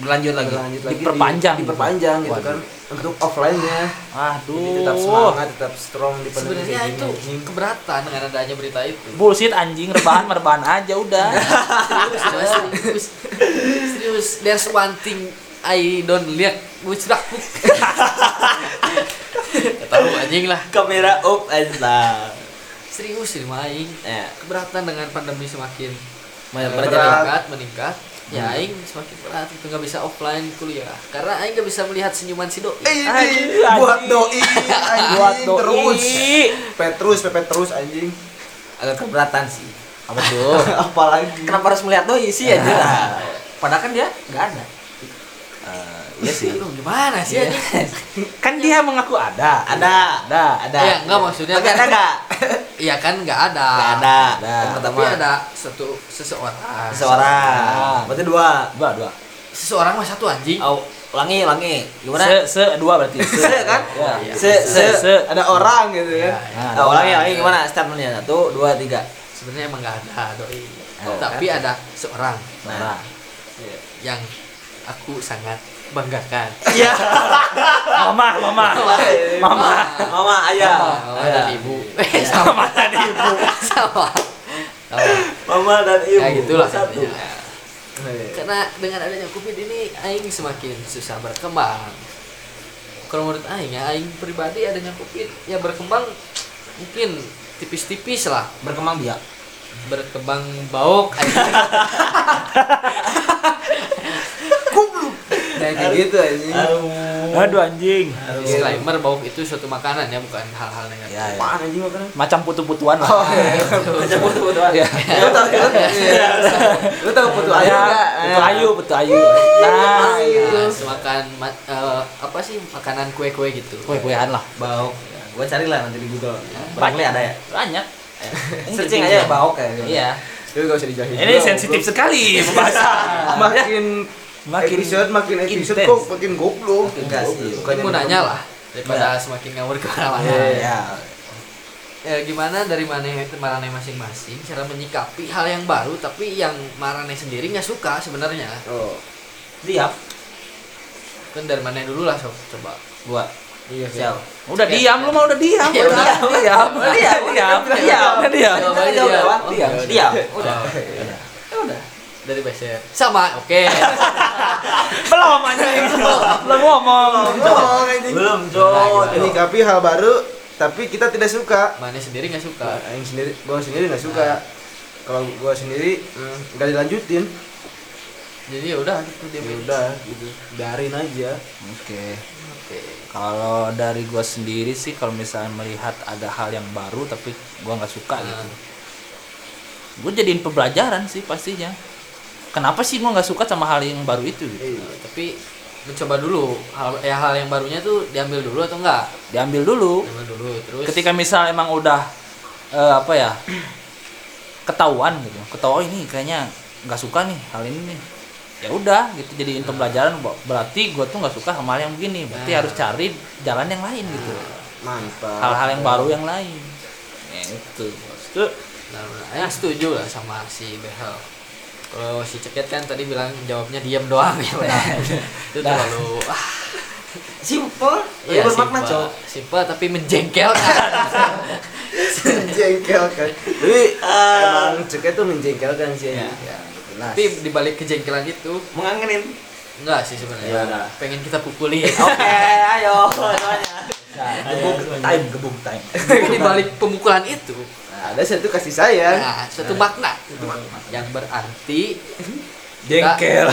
Speaker 2: berlanjut lagi.
Speaker 3: berlanjut lagi di-
Speaker 1: Diperpanjang.
Speaker 3: diperpanjang gitu
Speaker 1: Waduh.
Speaker 3: kan untuk offline-nya. Jadi
Speaker 1: Aduh.
Speaker 3: tetap semangat, tetap strong
Speaker 2: Nah,
Speaker 3: di pandemi
Speaker 4: sebenarnya
Speaker 3: kayak
Speaker 4: itu
Speaker 3: gini.
Speaker 4: keberatan dengan adanya berita itu
Speaker 1: Bullshit anjing rebahan merbahan aja udah.
Speaker 4: serius, serius, serius. There's one thing I don't like which duck book. Ya tahu anjing lah.
Speaker 2: Kamera up Islam.
Speaker 4: Serius ini main.
Speaker 2: Ya,
Speaker 4: Keberatan dengan pandemi semakin
Speaker 2: Makin
Speaker 4: meningkat, meningkat.
Speaker 2: Hmm.
Speaker 4: Ya aing semakin berat itu nggak bisa offline kuliah karena aing nggak bisa melihat senyuman si doi.
Speaker 3: Eh,
Speaker 1: Anjing,
Speaker 3: buat
Speaker 1: anjing.
Speaker 3: doi, anjing,
Speaker 1: Buat doi.
Speaker 3: terus, petrus, pepet terus, anjing,
Speaker 2: agak keberatan sih.
Speaker 1: Apa tuh?
Speaker 3: apalagi.
Speaker 2: Kenapa harus melihat doi sih aja lah. Padahal kan dia nggak ada.
Speaker 1: Iya sih.
Speaker 4: Aduh, gimana sih anjing?
Speaker 1: Kan dia mengaku ada.
Speaker 2: Ada,
Speaker 1: Ada.
Speaker 2: ada.
Speaker 4: Ya, nggak, maksudnya
Speaker 2: Tapi Nah,
Speaker 4: kan-
Speaker 2: ada nggak?
Speaker 4: Iya kan nggak ada.
Speaker 2: Nggak ada.
Speaker 1: Ada.
Speaker 2: Yang
Speaker 4: Tapi
Speaker 2: Pertama
Speaker 4: ada satu seseorang.
Speaker 2: seorang. Berarti dua.
Speaker 1: Dua, dua.
Speaker 4: Seseorang mah satu anjing.
Speaker 2: Oh, ulangi, ulangi. Gimana?
Speaker 1: Se, se dua berarti. Se,
Speaker 2: kan?
Speaker 1: Ya.
Speaker 2: Se, se,
Speaker 1: se.
Speaker 3: ada orang gitu kan.
Speaker 4: Ya, ya.
Speaker 2: Nah, ulangi, ulangi gimana? Statementnya satu, dua, tiga.
Speaker 4: sebenarnya emang nggak ada doi
Speaker 2: Oh,
Speaker 4: tapi
Speaker 2: kan?
Speaker 4: ada seorang
Speaker 1: Nah,
Speaker 4: yang aku sangat banggakan
Speaker 2: Iya.
Speaker 1: mama, mama, mama,
Speaker 2: Mama, ayah.
Speaker 4: Mama
Speaker 2: Ayah.
Speaker 4: dan ibu
Speaker 2: Iya.
Speaker 4: Eh, sama dan ibu sama sama
Speaker 2: Mama dan ibu.
Speaker 4: ya gitulah
Speaker 2: satu.
Speaker 4: intinya. karena dengan adanya covid ini aing semakin susah berkembang kalau menurut aing ya aing pribadi adanya covid ya berkembang mungkin tipis-tipis lah
Speaker 2: Berkembang biak.
Speaker 4: berkembang bauk aing.
Speaker 2: Nah,
Speaker 3: Jangan kayak gitu anjing.
Speaker 1: Aduh anjing.
Speaker 4: Disclaimer bahwa itu suatu makanan ya bukan hal-hal negatif.
Speaker 2: Ya, ya.
Speaker 3: Apaan anjing makanan?
Speaker 1: Macam putu-putuan lah. iya.
Speaker 4: Iya,
Speaker 2: Aja butuh-butuhan. Ya.
Speaker 3: Lu tahu kan? Lu tahu putu ayu
Speaker 1: Ya,
Speaker 3: enggak?
Speaker 1: putu ayu, putu ayu.
Speaker 2: Iya,
Speaker 1: Nah,
Speaker 4: Nah, semakan ma- eh, apa sih makanan kue-kue gitu.
Speaker 1: kue-kuean lah.
Speaker 2: Bauk. Ya. Gua carilah nanti di Google. Barangkali ada ya.
Speaker 1: Banyak.
Speaker 2: Searching aja bauk ya.
Speaker 1: Iya.
Speaker 3: Lu enggak usah dijahit.
Speaker 1: Ini sensitif sekali pembahasan.
Speaker 3: Makin
Speaker 1: Makin
Speaker 3: episode makin episode
Speaker 1: intense.
Speaker 3: kok makin goblok.
Speaker 2: Enggak sih.
Speaker 4: Mungkin mau nanya lah daripada semakin ngawur ke arah
Speaker 1: iya.
Speaker 4: lain.
Speaker 2: Ya.
Speaker 4: Ya, gimana dari mana marane masing-masing cara menyikapi hal yang baru tapi yang marane sendiri nggak suka sebenarnya.
Speaker 3: Oh.
Speaker 1: Iya,
Speaker 2: Siap.
Speaker 4: Kan dari mana dulu lah sob coba.
Speaker 2: Gua.
Speaker 3: Iya,
Speaker 2: Siap.
Speaker 1: Udah diam lu mah udah diam. Iya,
Speaker 4: Ya,
Speaker 1: Udah
Speaker 4: udah.
Speaker 1: diam. Udah diam. Diam. Diam. Udah diam.
Speaker 2: Kita kan jauh
Speaker 4: Diam.
Speaker 2: lewat.
Speaker 4: Oh,
Speaker 2: Diam.
Speaker 4: udah.
Speaker 2: Diam.
Speaker 4: Oh,
Speaker 2: Udah.
Speaker 4: udah. udah. Dari BCR. Sama, oke.
Speaker 1: Belum anjing. Belum ngomong.
Speaker 2: Belum,
Speaker 4: Belum.
Speaker 2: Cok.
Speaker 3: Ini kapi hal baru tapi kita tidak suka.
Speaker 4: Mana sendiri nggak suka.
Speaker 3: Aing sendiri, gua sendiri nggak suka. Kalau gua sendiri hmm, nggak dilanjutin,
Speaker 4: Jadi ya udah gitu dia.
Speaker 3: ya udah gitu. Biarin aja.
Speaker 1: Oke.
Speaker 4: Oke.
Speaker 1: Kalau dari gua sendiri sih kalau misalnya melihat ada hal yang baru tapi gua nggak suka
Speaker 4: Nah.
Speaker 1: gitu. Gua jadiin pembelajaran sih pastinya. Kenapa sih gua nggak suka sama hal yang baru itu? gitu.
Speaker 3: Iya.
Speaker 4: tapi mencoba dulu hal ya hal yang barunya tuh diambil dulu atau enggak
Speaker 1: Diambil dulu.
Speaker 4: diambil dulu terus
Speaker 1: Ketika misal emang udah eh, apa ya ketahuan gitu, ketahuan "Oh, ini kayaknya nggak suka nih hal ini nih. Ya udah gitu jadiin pembelajaran Bo- berarti gua tuh nggak suka sama hal yang begini. Berarti
Speaker 4: Nah.
Speaker 1: harus cari jalan yang lain gitu.
Speaker 3: Mantap.
Speaker 1: Hal-hal yang baru yang lain. Ya, itu. Itu
Speaker 4: nah, nah, ya setuju lah sama si Behel kalau si ceket kan tadi bilang jawabnya diam doang ya udah. itu
Speaker 1: Nah.
Speaker 4: terlalu ah,
Speaker 2: Simple. Ya,
Speaker 3: Iya,
Speaker 4: ya,
Speaker 2: bermakna,
Speaker 4: simpel.
Speaker 2: Cok.
Speaker 4: Simpel tapi Nah, menjengkelkan
Speaker 3: menjengkelkan. Tapi emang ceket tuh menjengkelkan sih.
Speaker 2: Iya.
Speaker 3: Ya, jelas.
Speaker 4: tapi dibalik kejengkelan itu
Speaker 2: Mengangenin.
Speaker 4: Iya, enggak sih sebenarnya
Speaker 2: Ya, enggak.
Speaker 4: pengen kita pukuli
Speaker 2: Oke, ayo semuanya. Nah,
Speaker 1: gebuk
Speaker 2: iya.
Speaker 1: time gebuk time
Speaker 4: tapi dibalik pemukulan itu
Speaker 3: Nah, ada satu kasih sayang.
Speaker 4: nah suatu makna yang berarti
Speaker 1: jengkel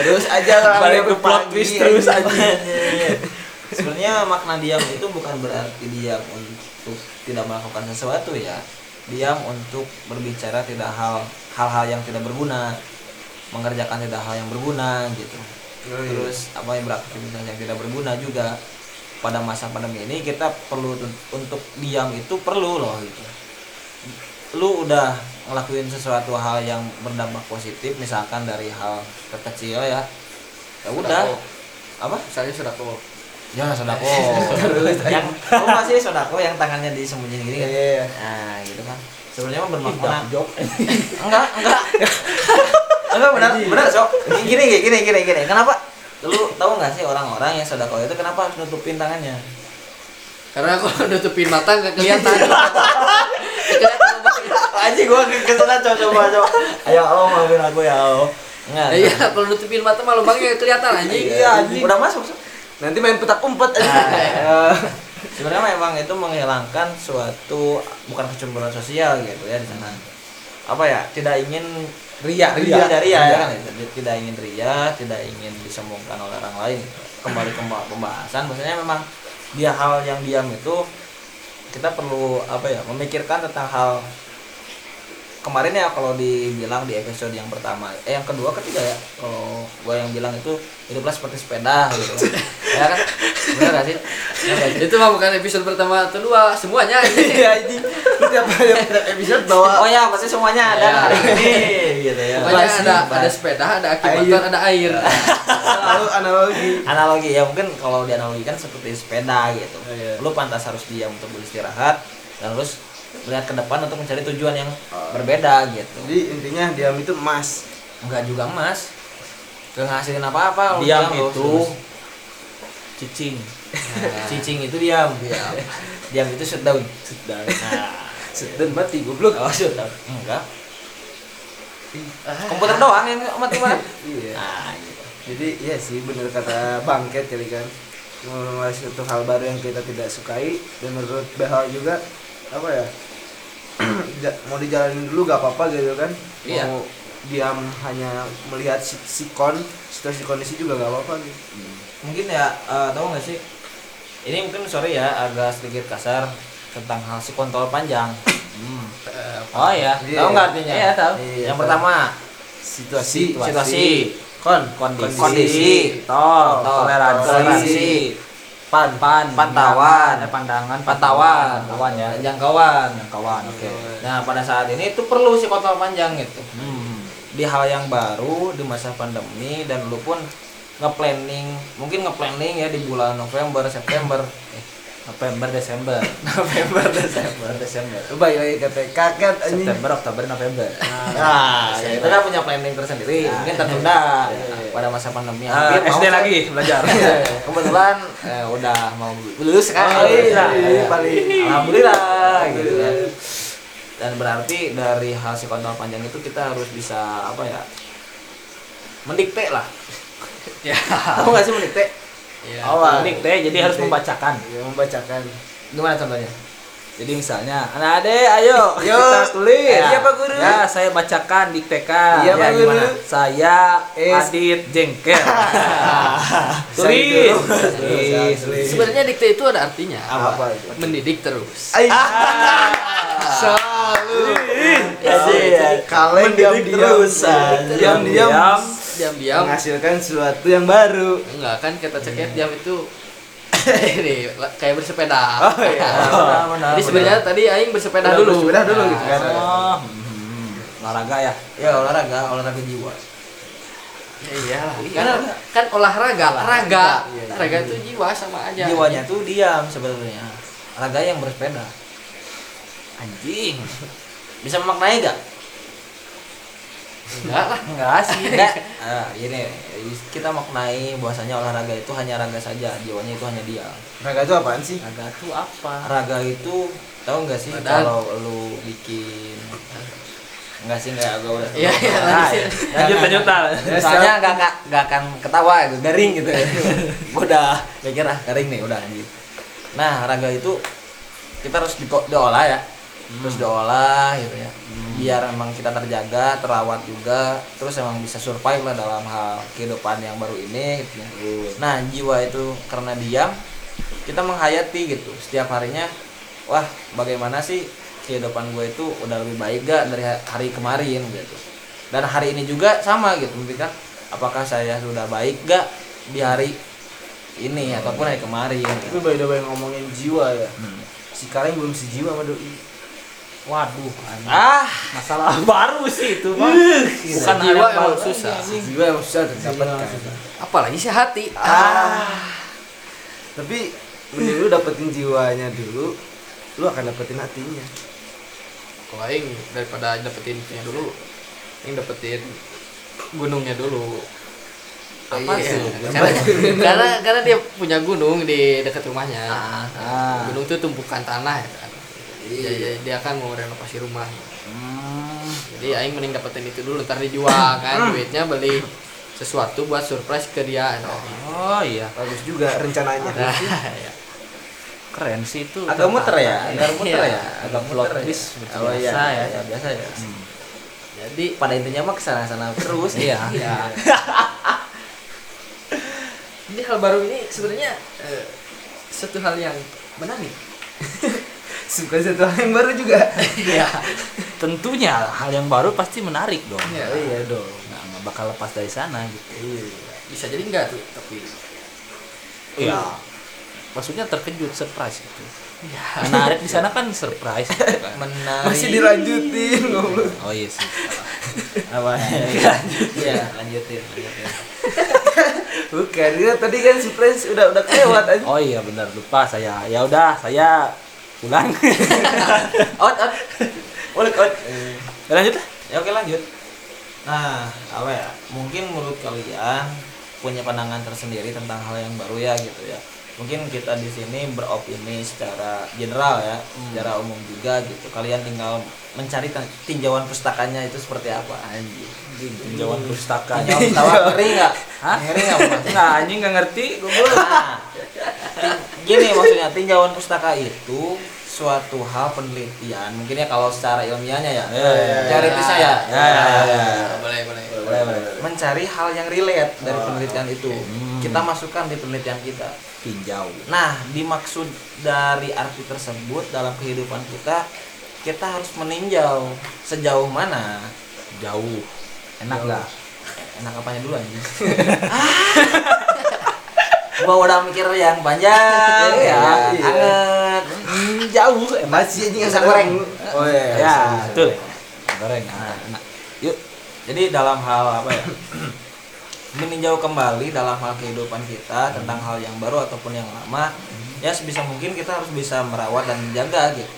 Speaker 3: Terus aja lah.
Speaker 1: Balik ke
Speaker 3: pagi,
Speaker 1: plot twist
Speaker 3: anjing.
Speaker 1: terus aja
Speaker 2: Sebenarnya makna diam itu bukan berarti diam untuk tidak melakukan sesuatu ya. Diam untuk berbicara tidak hal hal-hal yang tidak berguna, mengerjakan tidak hal yang berguna gitu.
Speaker 3: Oh, iya.
Speaker 2: Terus apa yang beraktivitas yang tidak berguna juga. Pada masa pandemi ini kita perlu tun- untuk diam itu perlu loh gitu. Lu udah ngelakuin sesuatu hal yang berdampak positif misalkan dari hal terkecil ya. Ya udah. Apa?
Speaker 4: misalnya sudah kok
Speaker 2: Ya sodako. yang oh masih sodako yang tangannya disembunyiin gini kan.
Speaker 3: Iya.
Speaker 2: Nah, gitu kan. Sebenarnya mah bermakna.
Speaker 1: Dark joke.
Speaker 2: Enggak, enggak. enggak benar, benar sok. Gini gini gini gini gini. Kenapa? Lu tahu nggak sih orang-orang yang sodako itu kenapa harus nutupin tangannya?
Speaker 4: Karena aku nutupin mata nggak kelihatan.
Speaker 3: Iya.
Speaker 4: Kelihatan.
Speaker 2: Aji gua ke kesana coba coba coba. Ayo Allah maafin aku ya Allah. Enggak.
Speaker 4: Iya, kalau nutupin mata malu banget nggak kelihatan anjing.
Speaker 2: Iya, anjing. Udah masuk, Nah, Sok.
Speaker 3: Nanti main petak umpet aja. Eh,
Speaker 2: sebenarnya memang itu menghilangkan suatu bukan kecemburuan sosial gitu ya di sana apa ya tidak ingin ria
Speaker 3: ria.
Speaker 2: tidak ria, ya
Speaker 3: Ria.
Speaker 2: kan Tidak- tidak ingin ria tidak ingin disombongkan oleh orang lain kembali ke pembahasan maksudnya memang dia hal yang diam itu kita perlu apa ya memikirkan tentang hal kemarin ya kalau dibilang di episode yang pertama eh yang kedua ketiga ya kalau gua yang bilang itu hiduplah seperti sepeda gitu ya kan benar gak sih Benar gak sih?
Speaker 4: Iya. Itu mah bukan episode pertama atau dua, semuanya anjing.
Speaker 3: Iya anjing. Lu tiap tiap episode bawa
Speaker 2: Oh ya, pasti semuanya ada
Speaker 4: Ya.
Speaker 2: hari ini gitu ya.
Speaker 4: Pokoknya
Speaker 2: Pasti,
Speaker 4: ada
Speaker 2: Pak.
Speaker 4: ada sepeda, ada aki
Speaker 3: Iya. Air.
Speaker 4: motor, ada air.
Speaker 3: selalu analogi.
Speaker 2: analogi ya mungkin kalau dianalogikan seperti sepeda gitu.
Speaker 3: Oh, iya.
Speaker 2: Lu pantas harus diam untuk beristirahat dan terus melihat ke depan untuk mencari tujuan yang berbeda gitu.
Speaker 3: Jadi intinya diam itu emas.
Speaker 2: Enggak juga emas. Gak ngasilin apa-apa. lu
Speaker 1: diam
Speaker 2: lu.
Speaker 1: itu cicing
Speaker 2: Terus, cicing itu diam. Diam, Iya. diam itu shutdown.
Speaker 1: sedang
Speaker 3: Dan mati goblok.
Speaker 2: Oh, shutdown. Enggak. Eh,
Speaker 4: Ah,
Speaker 2: Komputer doang yang mati mana?
Speaker 3: Iya.
Speaker 2: Nah, gitu.
Speaker 3: Jadi iya sih bener kata bangket kali kan memulai suatu hal baru yang kita tidak sukai dan menurut Behal juga apa ya ja- mau dijalanin dulu gak apa-apa gitu kan
Speaker 4: Iya.
Speaker 3: mau diam hanya melihat si- sikon situasi kondisi juga nggak apa-apa gitu
Speaker 2: mungkin ya eh, tahu nggak sih ini mungkin sorry ya agak sedikit kasar tentang hal si kontol panjang oh ya
Speaker 3: Iya.
Speaker 2: tahu nggak artinya
Speaker 1: Iya, tahu.
Speaker 3: Iya,
Speaker 2: yang
Speaker 3: tahu.
Speaker 2: pertama
Speaker 3: situasi
Speaker 2: Situasi.
Speaker 3: kon
Speaker 2: kondisi,
Speaker 3: kondisi
Speaker 2: tol,
Speaker 3: Tol.
Speaker 2: toleransi,
Speaker 3: Toleransi.
Speaker 2: pan pan pantauan
Speaker 1: eh, pandangan
Speaker 2: pantauan
Speaker 1: pantauan ya
Speaker 2: Dan jangkauan
Speaker 1: kawan oke
Speaker 2: nah pada saat ini itu perlu si kontol panjang gitu di hal yang baru di masa pandemi dan lu pun nge-planning mungkin nge-planning ya di bulan November September eh,
Speaker 1: November Desember
Speaker 2: November Desember Desember
Speaker 3: Lu balik lagi ke TK kan anjing
Speaker 1: September Oktober November
Speaker 2: nah ya, itu kan punya planning tersendiri mungkin tertunda pada masa pandemi
Speaker 1: Ah,
Speaker 2: Hampir mau
Speaker 1: SD
Speaker 2: saya-
Speaker 1: lagi belajar
Speaker 2: Iya, kebetulan eh, udah mau lulus kan
Speaker 3: Oh, iya,
Speaker 2: Alhamdulillah.
Speaker 3: paling-
Speaker 2: alhamdulillah gitu kan dan berarti dari hasil kontol panjang itu kita harus bisa apa ya mendikte lah
Speaker 4: ya
Speaker 2: kamu nggak sih mendikte
Speaker 4: Iya.
Speaker 2: awal
Speaker 1: unik deh jadi harus
Speaker 3: Unik.
Speaker 1: membacakan
Speaker 3: ya, membacakan
Speaker 2: gimana contohnya
Speaker 1: jadi misalnya anak ade ayo
Speaker 3: Yo.
Speaker 1: kita tulis
Speaker 3: Eh, iya, Pak Guru.
Speaker 1: ya saya bacakan diktekan
Speaker 3: Iya,
Speaker 1: Ya,
Speaker 3: Pak Guru.
Speaker 1: gimana? saya
Speaker 3: Eh,
Speaker 1: Adit jengkel
Speaker 3: Saya
Speaker 1: tulis
Speaker 3: dulu.
Speaker 1: tulis
Speaker 3: Tulis.
Speaker 4: Iya. sebenarnya dikte itu ada artinya
Speaker 3: apa itu
Speaker 4: mendidik terus
Speaker 3: Ay,
Speaker 2: Ah,
Speaker 1: Ah.
Speaker 3: selalu kalian
Speaker 2: iya. Mendidik
Speaker 3: Ya, iya. diam diam
Speaker 2: terus, anjing. Iya.
Speaker 3: diam diam
Speaker 1: Diam.
Speaker 4: diam-diam
Speaker 3: menghasilkan sesuatu yang baru
Speaker 4: enggak kan kita ceket diam itu ini kayak bersepeda
Speaker 3: Iya. Oh, iya.
Speaker 2: Benar, benar,
Speaker 4: jadi sebenarnya tadi Aing bersepeda
Speaker 3: Udah,
Speaker 4: dulu Nah,
Speaker 3: bersepeda dulu gitu kan.
Speaker 1: oh hmm, olahraga ya
Speaker 2: ya olahraga olahraga jiwa
Speaker 4: iya kan, kan olahraga Iya, raga raga itu jiwa sama
Speaker 1: Ya.
Speaker 4: aja
Speaker 2: jiwanya tuh diam sebenarnya raga yang bersepeda
Speaker 1: anjing
Speaker 2: bisa memaknai gak
Speaker 4: enggak lah
Speaker 1: enggak sih
Speaker 2: Enggak. Ah, gini, kita maknai bahwasanya olahraga itu hanya raga saja, jiwanya itu hanya dia.
Speaker 3: raga itu apaan sih
Speaker 1: olahraga tuh apa
Speaker 2: Raga itu tahu nggak sih
Speaker 4: Badan.
Speaker 2: kalau lu bikin Enggak sih enggak gua udah.
Speaker 4: Iya, iya, lanjut.
Speaker 1: lanjut lanjut Tal.
Speaker 2: Ya, Soalnya nggak nggak nggak akan ketawa gitu, garing gitu. Gua udah mikir ah garing nih, udah anjir. Nah, raga itu kita harus di diolah ya. Terus diolah gitu ya. Biar emang kita terjaga, terawat juga, terus emang bisa survive lah dalam hal kehidupan yang baru ini gitu ya. Nah, jiwa itu karena diam kita menghayati gitu setiap harinya. Wah, bagaimana sih kehidupan gue itu udah lebih baik gak dari ha- hari kemarin gitu. Dan hari ini juga sama gitu, kan apakah saya sudah baik gak di hari ini ataupun hari kemarin.
Speaker 3: tapi
Speaker 2: Gitu.
Speaker 3: by the way ngomongin jiwa ya si Kareng belum sejiwa sama doi
Speaker 1: waduh anjing.
Speaker 2: Ah,
Speaker 1: masalah baru sih itu mah bukan hal
Speaker 4: Iya. jiwa
Speaker 1: yang baru
Speaker 4: emang susah.
Speaker 1: anjing.
Speaker 3: jiwa yang susah terdapatkan
Speaker 4: apalagi si hati Ah.
Speaker 3: tapi mending lu dapetin jiwanya dulu lu akan dapetin hatinya
Speaker 4: kalau Aing daripada dapetin itunya dulu Aing dapetin gunungnya dulu apa
Speaker 3: Iya.
Speaker 4: sih karena, karena karena dia punya gunung di dekat rumahnya
Speaker 1: ah.
Speaker 4: gunung itu tumpukan tanah ya kan dia, dia- dia kan mau renovasi rumah
Speaker 1: Hmm.
Speaker 4: jadi Aing mending dapetin itu dulu ntar dijual kan duitnya beli sesuatu buat surprise ke dia nah,
Speaker 1: oh iya
Speaker 3: bagus juga rencananya
Speaker 4: nah, ya.
Speaker 1: keren sih itu
Speaker 2: agak muter ya, agak muter
Speaker 4: Iya.
Speaker 2: ya, agak
Speaker 1: Plot
Speaker 2: muter ya.
Speaker 1: twist seperti
Speaker 2: Oh, iya,
Speaker 1: biasa ya.
Speaker 2: iya, biasa ya.
Speaker 4: jadi
Speaker 2: Pada intinya mah kesana-sana terus.
Speaker 1: Iya.
Speaker 4: ya ini hal baru ini sebenarnya eh, satu hal yang menarik
Speaker 3: suka satu hal yang baru juga
Speaker 4: ya
Speaker 1: tentunya hal yang baru pasti menarik dong
Speaker 4: Iya.
Speaker 3: Oh, iya dong
Speaker 1: nggak nggak bakal lepas dari sana gitu
Speaker 3: iya
Speaker 4: bisa jadi enggak tuh tapi
Speaker 1: iya maksudnya terkejut surprise gitu menarik di sana kan surprise gitu kan.
Speaker 2: Menarik.
Speaker 3: masih dilanjutin ngobrol
Speaker 1: oh iya sih
Speaker 2: apa? Iya, Iya, lanjutin, lanjutin.
Speaker 3: bukan ya, tadi kan si Prince udah udah kelewat aja
Speaker 1: oh iya benar lupa saya ya udah saya pulang
Speaker 2: Out, out. Ulik, out.
Speaker 1: Ya, lanjut lah
Speaker 2: Ya oke lanjut. Nah, apa ya? Mungkin menurut kalian punya pandangan tersendiri tentang hal yang baru ya gitu ya. Mungkin kita di sini beropini secara general ya,
Speaker 3: Hmm.
Speaker 2: secara umum juga gitu. Kalian tinggal mencari tan- tinjauan pustakanya itu seperti apa. Anjir.
Speaker 1: tinjauan pustaka
Speaker 2: Tinjauan pustaka ngeri nggak?
Speaker 1: Hah?
Speaker 2: Ngeri nggak, Mas?
Speaker 1: Nggak, anjing nggak ngerti
Speaker 2: Nah, tin- gini maksudnya tinjauan pustaka itu suatu hal penelitian mungkin ya kalau secara ilmiahnya ya
Speaker 1: Iya,
Speaker 3: Ya, ya, ya.
Speaker 2: teoritisnya ya,
Speaker 3: Ya, ya, ya.
Speaker 4: eh, boleh boleh
Speaker 3: Boleh, boleh, boleh.
Speaker 2: mencari hal yang relate
Speaker 1: Ah,
Speaker 2: dari
Speaker 3: Oh,
Speaker 2: penelitian itu kita masukkan di penelitian kita
Speaker 1: Hmm. Tinjau.
Speaker 2: nah dimaksud dari arti tersebut dalam kehidupan kita kita harus meninjau sejauh mana
Speaker 1: Jauh.
Speaker 2: enak nggak enak apanya dulu aja gua udah mikir yang panjang
Speaker 3: Iya,
Speaker 2: ya
Speaker 3: iya.
Speaker 2: anget
Speaker 1: Hmm, jauh emang.
Speaker 3: Masih anjing yang
Speaker 2: Pisang
Speaker 3: sadar.
Speaker 2: goreng.
Speaker 3: Oh iya.
Speaker 1: Ya,
Speaker 3: bisa, bisa.
Speaker 1: betul. Goreng.
Speaker 2: Nah, nah, yuk. Jadi dalam hal apa ya? meninjau kembali dalam hal kehidupan kita tentang hal yang baru ataupun yang lama, ya sebisa mungkin kita harus bisa merawat dan menjaga gitu.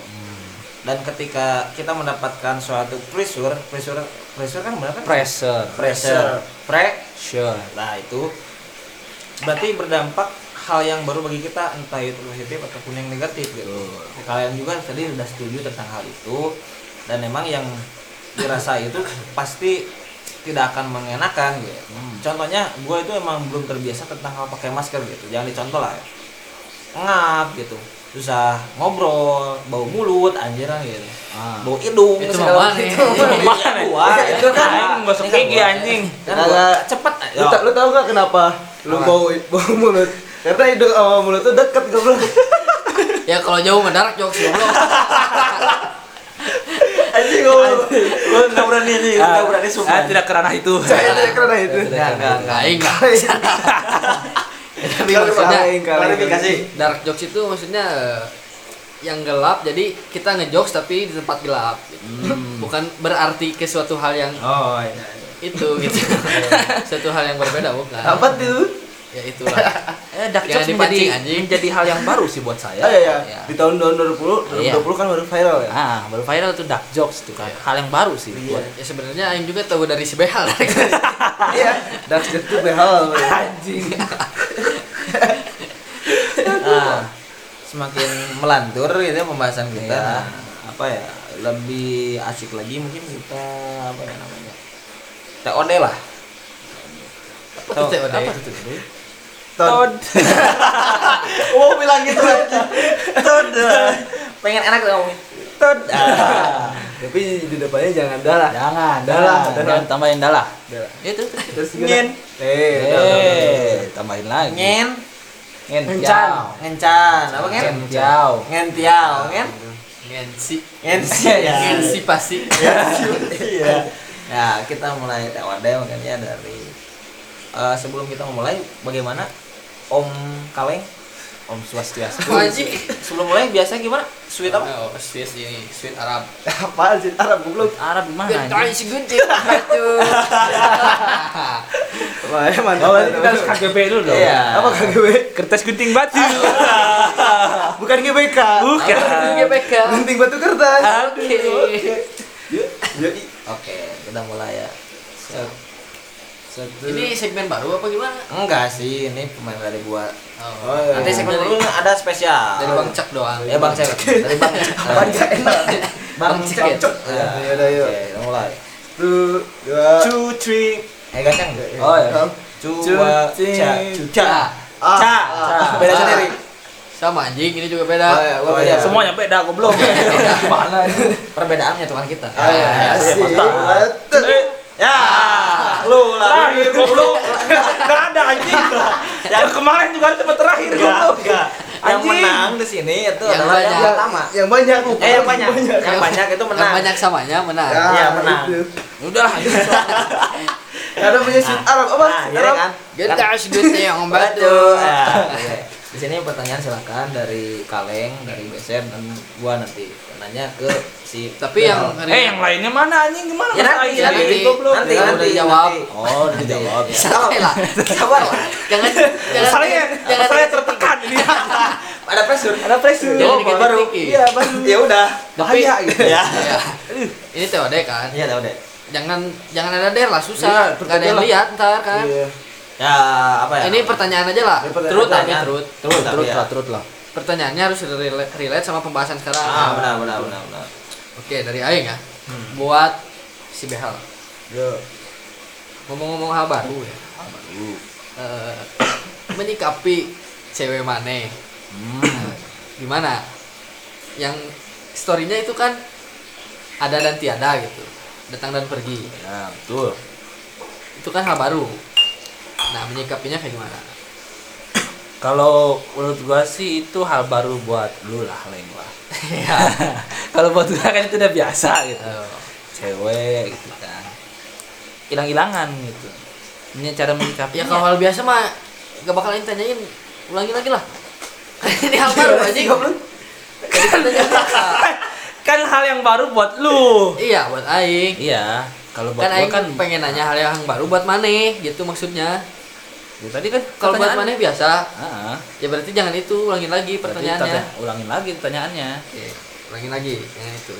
Speaker 2: Dan ketika kita mendapatkan suatu pressure, pressure, pressure kan benar kan?
Speaker 1: Pressure.
Speaker 2: pressure, pre,
Speaker 1: Sure.
Speaker 2: nah itu berarti berdampak hal yang baru bagi kita entah itu positif ataupun yang negatif gitu kalian juga tadi sudah setuju tentang hal itu dan memang yang dirasa itu pasti tidak akan mengenakan gitu
Speaker 1: Hmm.
Speaker 2: contohnya gue itu emang belum terbiasa tentang hal pakai masker gitu jangan dicontoh lah ya. ngap gitu susah ngobrol bau mulut anjiran gitu
Speaker 1: Ah.
Speaker 2: bau hidung
Speaker 4: Itu
Speaker 2: segala
Speaker 4: mah
Speaker 2: macam.
Speaker 4: mana?
Speaker 2: Itu mah
Speaker 1: Mana?
Speaker 2: gua,
Speaker 1: eh. Itu kan
Speaker 2: Ini
Speaker 1: aing gosok
Speaker 2: kan gua.
Speaker 1: gigi, anjing.
Speaker 2: Kan gua
Speaker 3: Kagak.
Speaker 2: cepet
Speaker 3: Lu, ta- lu tau gak kenapa lu bau bau mulut? Karena hidung sama mulut tuh deket goblok.
Speaker 4: ya kalau jauh mendarat jokes goblok
Speaker 3: Anjing goblok.
Speaker 2: Gue nggak berani nih, nggak berani sumpah.
Speaker 1: Ah, tidak kerana itu.
Speaker 3: Saya tidak kena itu.
Speaker 2: Nggak, nggak, nggak.
Speaker 4: lain nggak
Speaker 3: Kaleng,
Speaker 4: tapi Ya, maksudnya
Speaker 3: kaleng, kaleng.
Speaker 2: klarifikasi.
Speaker 4: dark jokes itu maksudnya eh, yang gelap jadi kita ngejokes tapi di tempat gelap gitu. bukan berarti ke suatu hal yang
Speaker 3: Oh iya. iya.
Speaker 4: itu gitu suatu hal yang berbeda bukan
Speaker 3: Apa tuh?
Speaker 4: ya itulah
Speaker 1: Eh, dark jokes
Speaker 4: Jangan dipancing,
Speaker 1: menjadi
Speaker 4: anjing.
Speaker 1: menjadi hal yang
Speaker 2: Eh,
Speaker 1: baru sih buat saya.
Speaker 3: Ah iya,
Speaker 1: Ya.
Speaker 3: iya. Di tahun tahun 2020,
Speaker 1: Iya.
Speaker 3: 2020 kan baru viral ya.
Speaker 1: Ah, baru viral tuh dark jokes tuh kan.
Speaker 4: Iya.
Speaker 1: Hal yang baru sih
Speaker 3: Iya.
Speaker 1: buat
Speaker 4: ya sebenarnya Aing juga tahu dari si Behal
Speaker 3: Iya. Dark Jet tuh behal. ya.
Speaker 2: Nah, semakin melantur gitu ya pembahasan kita.
Speaker 1: Iya.
Speaker 2: Nah, apa ya? Lebih asik lagi mungkin kita apa ya namanya? TOD lah. Ya,
Speaker 4: Tuh, apa tuh?
Speaker 3: Tahun
Speaker 2: Oh, bilang gitu aja. Tod. Pengen enak tuh ngomongin. Tod. Ah.
Speaker 3: Tapi di depannya jangan dalah.
Speaker 1: Jangan,
Speaker 3: Dalah,
Speaker 1: dalah,
Speaker 3: dalah.
Speaker 1: jangan tambahin dalah.
Speaker 3: Dalah.
Speaker 4: Ya,
Speaker 1: Itu.
Speaker 3: Terus
Speaker 2: Nyen.
Speaker 3: Eh, udah, udah, udah, udah.
Speaker 1: Eh, tambahin lagi.
Speaker 2: Ngen,
Speaker 1: Ngen,
Speaker 2: ngencan, ngencan. Apa ngen?
Speaker 1: Ngen, jauh.
Speaker 2: Ngentiau, ngen.
Speaker 4: Ngensi
Speaker 2: Ngensi ya.
Speaker 4: Ngensi pasti
Speaker 2: Iya. Nah, kita mulai TOD mungkin ya dari eh, sebelum kita memulai bagaimana Om Kaleng, Om Swastiastu.
Speaker 4: wajib
Speaker 2: sebelum mulai biasanya gimana? Sweet apa?
Speaker 4: oh Swiss ini Swiss Arab
Speaker 3: Apaan sih? Arab goblok.
Speaker 1: Arab gimana?
Speaker 4: Getai
Speaker 1: anjing?
Speaker 4: si gunting gitu
Speaker 3: Wah, ya
Speaker 1: Oh,
Speaker 3: mantap.
Speaker 1: berarti kita harus
Speaker 3: mantap.
Speaker 1: KGB dulu dong.
Speaker 2: Iya.
Speaker 3: Apa KGB?
Speaker 1: Kertas gunting batu.
Speaker 3: Bukan GBK.
Speaker 1: Bukan.
Speaker 4: GBK
Speaker 3: Gunting batu kertas.
Speaker 4: oke
Speaker 3: Jadi
Speaker 2: Oke, kita mulai ya.
Speaker 3: satu.
Speaker 4: ini segmen baru apa gimana
Speaker 2: Enggak sih, ini pemain dari gua.
Speaker 4: oh.
Speaker 3: Oh,
Speaker 2: Nanti segmen
Speaker 4: Dari-
Speaker 2: dulu ada spesial.
Speaker 4: dari Bang Cak doang
Speaker 2: Ya iya. Bang Cek. Dari Bang Cek.
Speaker 3: Apaan Cak? Enak.
Speaker 4: Bang Cek ya?
Speaker 2: Ya,
Speaker 3: Ya, udah, yuk.
Speaker 2: Oke, kita mulai.
Speaker 3: Satu, dua,
Speaker 2: Two, three. Eh, kencang.
Speaker 3: Oh, iya.
Speaker 2: Cua,
Speaker 3: Two,
Speaker 2: ca,
Speaker 3: three.
Speaker 2: cuca.
Speaker 3: Ah.
Speaker 2: Ca. Beda
Speaker 4: Ah.
Speaker 2: sendiri.
Speaker 4: sama anjing ini juga beda
Speaker 3: Oh, iya, gua
Speaker 2: Oh,
Speaker 3: beda.
Speaker 2: iya.
Speaker 1: Semuanya beda goblok.
Speaker 3: Eh,
Speaker 1: Gimana ini?
Speaker 2: Perbedaannya tuh kan kita.
Speaker 3: Ah, iya,
Speaker 4: Ah,
Speaker 1: mantap.
Speaker 2: iya.
Speaker 3: asik.
Speaker 1: gitu.
Speaker 3: Mantap.
Speaker 1: Eh.
Speaker 2: Ya, lu lah.
Speaker 1: Terakhir goblok. Enggak ada anjing. Yang kemarin juga ada tempat terakhir
Speaker 2: Enggak,
Speaker 1: goblok.
Speaker 2: enggak. Yang
Speaker 1: Anjing.
Speaker 2: menang di sini itu
Speaker 4: Yang
Speaker 2: adalah yang
Speaker 4: banyak.
Speaker 2: pertama.
Speaker 3: Yang banyak.
Speaker 2: Eh, yang banyak. Yang banyak itu menang.
Speaker 4: yang banyak samanya menang
Speaker 3: Ah,
Speaker 2: Iya, menang.
Speaker 3: itu.
Speaker 1: Udahlah.
Speaker 3: Karena punya suit Arab apa?
Speaker 2: Nah,
Speaker 3: Suit
Speaker 2: iya
Speaker 3: Arab.
Speaker 2: kan?
Speaker 4: Getai si gunting yang
Speaker 2: Batu.
Speaker 4: batu
Speaker 2: Ah, oke. Di sini pertanyaan silakan dari Kaleng, dari BSN dan gua nanti nanya ke si
Speaker 4: tapi yang
Speaker 1: Eh, yang lainnya mana anjing? Gimana?
Speaker 2: Ya,
Speaker 1: Mas
Speaker 2: nanti,
Speaker 1: Aing?
Speaker 2: nanti,
Speaker 1: Jadi goblok.
Speaker 2: nanti,
Speaker 4: Ya,
Speaker 2: nanti,
Speaker 4: udah jawab.
Speaker 2: nanti.
Speaker 1: Oh, dijawab.
Speaker 2: Nanti.
Speaker 4: sabar lah sabar lah jangan jangan
Speaker 1: Masalahnya,
Speaker 4: jangan
Speaker 1: masalahnya tertekan ini.
Speaker 2: Ada pressure.
Speaker 3: Ada pressure.
Speaker 4: Jangan
Speaker 3: Oh,
Speaker 4: dikit-dikit.
Speaker 3: baru. Iya, baru.
Speaker 2: Ya udah.
Speaker 3: Bahaya gitu.
Speaker 2: Ya.
Speaker 4: Ya. ini TOD kan
Speaker 2: Iya, udah.
Speaker 4: jangan jangan ada der lah susah
Speaker 3: Iya,
Speaker 4: nggak ada yang
Speaker 3: lah.
Speaker 4: lihat ntar kan
Speaker 3: Iya.
Speaker 2: Ya, apa ya?
Speaker 4: ini pertanyaan aja lah
Speaker 3: Ini pertanyaan.
Speaker 4: terut tapi
Speaker 2: Pertanyaan.
Speaker 4: terut
Speaker 2: Terut, tapi ya.
Speaker 1: Terus lah.
Speaker 4: pertanyaannya harus rela- relate sama pembahasan sekarang
Speaker 2: Ah, benar, benar, benar, benar.
Speaker 4: oke dari Aing ya buat si Behal
Speaker 3: Yo.
Speaker 4: ngomong-ngomong hal baru ya Eh, menyikapi cewek mana gimana yang storynya itu kan ada dan tiada gitu datang dan pergi
Speaker 2: ya betul
Speaker 4: itu kan hal baru nah menyikapinya kayak gimana
Speaker 1: Kalau menurut gua sih itu hal baru buat lu lah, Leng lah.
Speaker 4: Eh,
Speaker 1: Ya. Kalau buat gua kan itu udah biasa gitu. Cewek gitu kan. Hilang-hilangan gitu. Ini cara menyikapinya.
Speaker 4: ya kalau hal biasa mah gak bakal ini tanyain ulangi lagi lah ini hal baru aja goblok Tadi kan tanya biasa.
Speaker 1: kan hal yang baru buat lu.
Speaker 4: iya buat Aing
Speaker 1: Iya, kalau buat
Speaker 4: kan
Speaker 1: gua
Speaker 4: Aing
Speaker 1: kan
Speaker 4: kan pengen nanya hal yang baru buat Mane gitu maksudnya
Speaker 1: Ya, tadi kan
Speaker 4: kalau buat
Speaker 1: pertanyaan-
Speaker 4: Mane biasa
Speaker 1: Ah,
Speaker 4: ya berarti jangan itu ulangin lagi
Speaker 1: tadi
Speaker 4: pertanyaannya
Speaker 1: tanya- ulangin lagi pertanyaannya.
Speaker 4: Oke, ulangin lagi yang itu.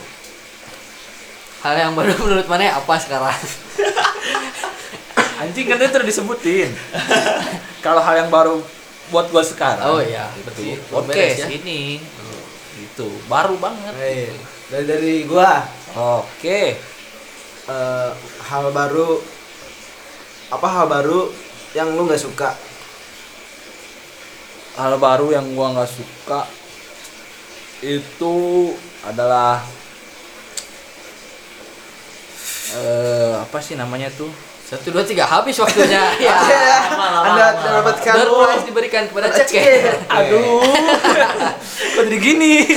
Speaker 4: Hal yang baru menurut mana apa sekarang?
Speaker 1: Anjing kan tadi udah disebutin. kalau hal yang baru buat gua sekarang.
Speaker 4: Oh iya,
Speaker 1: Itu
Speaker 4: betul.
Speaker 1: podcast
Speaker 4: Beres ya.
Speaker 1: ini. Gitu, baru banget.
Speaker 3: Hey, dari dari gua
Speaker 1: Oke.
Speaker 3: eh, hal baru apa hal baru yang lu nggak suka
Speaker 1: hal baru yang gua nggak suka itu adalah eh apa sih namanya tuh
Speaker 4: Satu dua tiga habis waktunya. ya.
Speaker 3: anda mendapatkan
Speaker 4: Door
Speaker 3: uang
Speaker 4: prize diberikan kepada
Speaker 3: Kepada ya.
Speaker 4: Cek.
Speaker 1: aduh kok jadi gini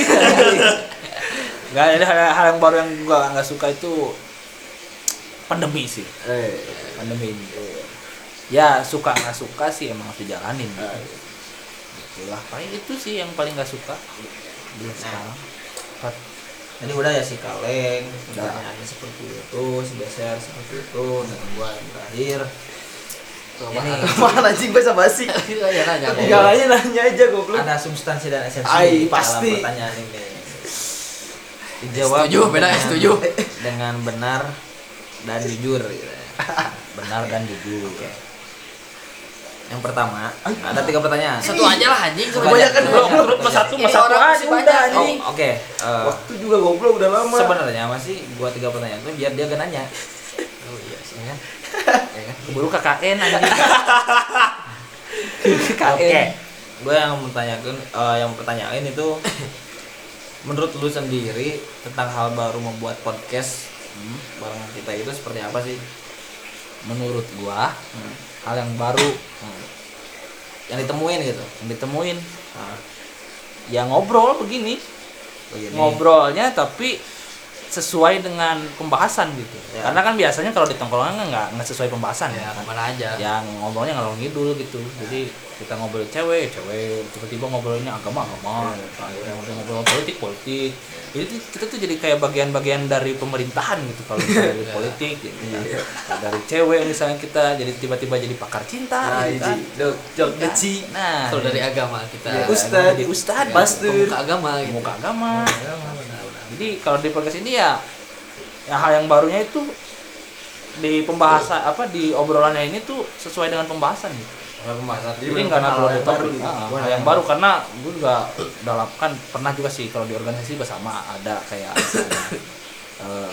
Speaker 1: nggak ada hal, hal yang baru yang gua nggak suka itu pandemi sih
Speaker 3: Eh,
Speaker 1: pandemi ini ya suka nggak suka sih emang harus dijalanin
Speaker 3: eh,
Speaker 1: Itulah paling itu sih yang paling nggak suka belum sekarang
Speaker 2: Jadi udah ya si kaleng,
Speaker 1: Udah.
Speaker 2: pertanyaannya seperti itu, si beser seperti itu, dan gua yang terakhir. Ini
Speaker 3: Apaan anjing bahasa basi
Speaker 4: Ya nanya.
Speaker 3: Tinggalannya nanya aja goblok
Speaker 2: ada substansi dan esensi
Speaker 3: Ai,
Speaker 2: dalam
Speaker 3: pasti.
Speaker 2: pertanyaan ini. Dijawab
Speaker 4: Setuju, beda
Speaker 2: dengan-
Speaker 4: setuju.
Speaker 2: dengan benar dan jujur. gitu ya.
Speaker 1: benar dan jujur
Speaker 2: Yang pertama, ada tiga pertanyaan.
Speaker 4: Satu aja lah anjing
Speaker 3: Kebanyakan
Speaker 4: Banyak.
Speaker 3: goblok,
Speaker 1: menurut mas satu, mas satu
Speaker 4: Ini Iya, orang
Speaker 1: aja
Speaker 4: masih
Speaker 1: udah,
Speaker 4: banyak,
Speaker 1: anjing.
Speaker 4: anjing.
Speaker 2: Oh, Oke, eh,
Speaker 3: Waktu juga goblok udah lama
Speaker 2: sebenarnya masih gua tiga pertanyaan tuh biar dia gak nanya.
Speaker 4: Oh iya sih.
Speaker 2: Ya kan? Ya kan?
Speaker 1: keburu KKN anjing KKN
Speaker 2: Oke. Gue yang mempertanyakan eh, yang pertanyaan itu menurut lu sendiri tentang hal baru membuat podcast
Speaker 1: Hmm.
Speaker 2: bareng kita itu seperti apa sih?
Speaker 1: menurut gua hal yang baru
Speaker 2: Yang ditemuin gitu.
Speaker 1: yang ditemuin
Speaker 2: Nah,
Speaker 1: ya ngobrol begini
Speaker 2: begini.
Speaker 1: ngobrolnya tapi sesuai dengan pembahasan gitu
Speaker 2: Ya.
Speaker 1: karena kan biasanya kalau di tongkrongan kan nggak nggak sesuai pembahasan
Speaker 4: Ya
Speaker 1: ya kan
Speaker 4: kemana aja.
Speaker 1: yang ngobrolnya ngalor ngidul gitu jadi kita ngobrol cewek cewek tiba-tiba ngobrolnya agama
Speaker 2: Ya.
Speaker 1: agama
Speaker 2: Iya.
Speaker 1: ngobrol ngobrol politik politik jadi tuh kita tuh jadi kayak bagian-bagian dari pemerintahan gitu kalau misalnya dari politik gitu kan. Nah, dari cewek misalnya kita jadi tiba-tiba jadi pakar cinta
Speaker 3: Nah,
Speaker 1: gitu kan.
Speaker 3: iji, dok, jok, beci
Speaker 1: nah
Speaker 4: Kalau dari agama kita.
Speaker 3: Iya. Ustad.
Speaker 1: jadi gitu, ustad
Speaker 3: Iya.
Speaker 1: pasti
Speaker 4: Pemuka agama gitu.
Speaker 1: muka agama iya. jadi kalau di podcast ini ya ya hal yang barunya itu di pembahasan apa di obrolannya ini tuh sesuai dengan pembahasan gitu
Speaker 2: Kalau pembahasan
Speaker 1: jadi nggak perlu
Speaker 3: yang
Speaker 1: yang baru
Speaker 3: baru.
Speaker 1: Ah, hal yang baru karena gue juga dalam kan pernah juga sih kalau di organisasi bersama ada kayak misalnya, eh,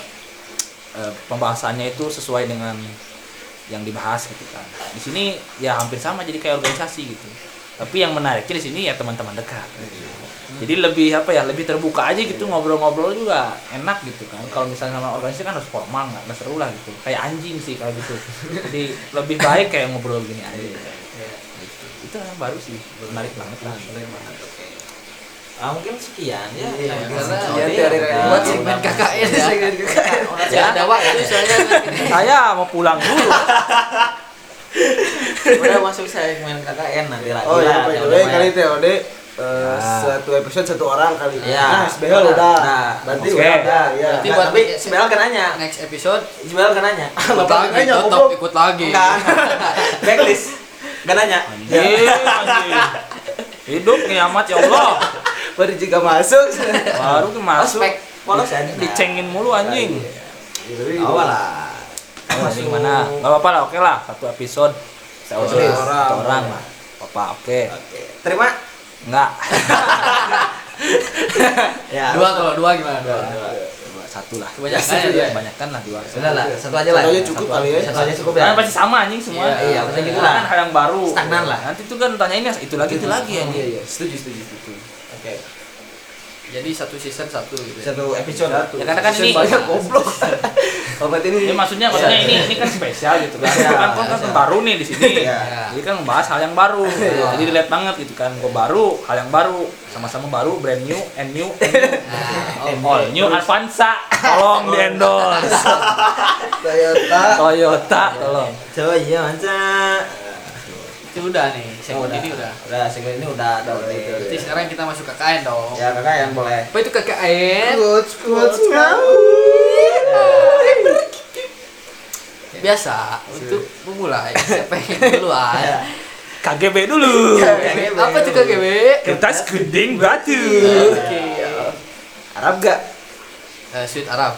Speaker 1: eh, pembahasannya itu sesuai dengan yang dibahas gitu kan di sini ya hampir sama jadi kayak organisasi gitu tapi yang menariknya di sini ya teman-teman dekat jadi lebih apa ya lebih terbuka aja gitu
Speaker 2: Iya.
Speaker 1: ngobrol-ngobrol juga enak gitu kan kalau misalnya sama organisasi kan harus formal nggak nggak seru lah gitu kayak anjing sih kalau gitu jadi lebih baik kayak ngobrol gini aja Gitu. itu yang baru sih Iya, menarik banget lah
Speaker 2: Ah, mungkin sekian ya.
Speaker 3: Iya,
Speaker 4: karena
Speaker 3: sekian dari Raya.
Speaker 4: Buat segmen KKN
Speaker 3: Iya.
Speaker 4: ya.
Speaker 3: kan
Speaker 2: Iya,
Speaker 4: Ya ada waktu soalnya.
Speaker 1: saya mau pulang dulu
Speaker 2: Udah masuk segmen KKN nanti lagi.
Speaker 3: Oh
Speaker 2: lah, jangan
Speaker 3: iya, by the way
Speaker 2: lupa ya.
Speaker 3: kali TOD eh, satu episode satu orang kali.
Speaker 2: Ah. Iya.
Speaker 3: Nah, sebehel
Speaker 2: Udah.
Speaker 3: udah.
Speaker 2: Nah,
Speaker 3: Berarti
Speaker 1: oke.
Speaker 3: udah, udah, ya.
Speaker 4: Berarti
Speaker 2: Nah,
Speaker 4: buat-
Speaker 2: tapi sebelum kan nanya,
Speaker 4: Next episode
Speaker 2: sebelum kan nanya.
Speaker 4: ikut
Speaker 3: Bapak
Speaker 4: lagi,
Speaker 3: nanya,
Speaker 4: tetap
Speaker 3: goblok.
Speaker 4: ikut lagi.
Speaker 2: Enggak. Backlist. Gak nanya.
Speaker 1: Anjing, anjing. Iya, hidup kiamat ya Allah
Speaker 3: Baru juga masuk.
Speaker 1: baru ke masuk
Speaker 2: Ospek. Polos Iya, kan?
Speaker 1: dicengin mulu
Speaker 3: Iya,
Speaker 1: anjing
Speaker 3: gitu.
Speaker 2: Awal lah. iya.
Speaker 1: Oh, jadi gimana nggak apa-apa lah oke lah satu episode satu
Speaker 3: Satu
Speaker 1: orang,
Speaker 3: orang.
Speaker 1: satu orang lah apa oke
Speaker 2: Oke. Terima.
Speaker 1: nggak
Speaker 2: Ya.
Speaker 4: Dua kalau dua gimana? Dua.
Speaker 1: Coba satu lah
Speaker 4: Kebanyakan ya. dua.
Speaker 1: kebanyakan lah dua
Speaker 2: Sudah lah, satu aja lah.
Speaker 3: Satu aja cukup kali ya.
Speaker 2: Satu aja cukup ya.
Speaker 1: Karena pasti sama anjing semua.
Speaker 4: Iya,
Speaker 2: iya, maksudnya gitu lah.
Speaker 1: Kan hal yang baru.
Speaker 2: Stagnan lah. ya,
Speaker 1: Nanti tuh kan tanyainnya itu lagi itu lagi anjing.
Speaker 3: Iya, iya, setuju, setuju, setuju.
Speaker 4: jadi satu season satu gitu ya.
Speaker 3: satu
Speaker 2: episode.
Speaker 3: satu.
Speaker 1: Ya, karena kan ini-
Speaker 3: Season banyak goblok oh berarti ini
Speaker 1: Ya maksudnya maksudnya
Speaker 2: Iya.
Speaker 1: ini ini kan spesial gitu kan.
Speaker 2: Iya,
Speaker 1: kan kan
Speaker 2: iya.
Speaker 1: baru nih di sini.
Speaker 4: Ya,
Speaker 3: Iya.
Speaker 4: nah,
Speaker 1: Jadi kan membahas hal yang baru.
Speaker 4: Iya.
Speaker 1: Jadi dilihat banget gitu kan. Gue baru, hal yang baru, sama-sama baru, brand new, and new, and new.
Speaker 3: Iya.
Speaker 4: Nah, oh,
Speaker 1: all new Avanza. Eh, Tolong di endorse.
Speaker 3: Toyota
Speaker 1: Toyota, tolong.
Speaker 3: coba iya manca
Speaker 4: itu udah nih segmen
Speaker 2: udah.
Speaker 4: ini udah
Speaker 3: Iya.
Speaker 2: Udah segmen ini udah ada
Speaker 3: Udah, udah,
Speaker 4: jadi
Speaker 3: udah.
Speaker 2: udah.
Speaker 4: sekarang kita masuk ke KKN dong
Speaker 3: Iya.
Speaker 2: Ya kakak yang boleh.
Speaker 4: apa itu KKN
Speaker 3: quotes quotes kau
Speaker 4: biasa untuk memulai siapa yang duluan
Speaker 3: Iya.
Speaker 2: Ya.
Speaker 1: KGB dulu.
Speaker 4: apa tuh KGB
Speaker 1: Kertas kuning batu.
Speaker 4: Oke.
Speaker 3: Arab gak
Speaker 4: Eh, Sweet Arab.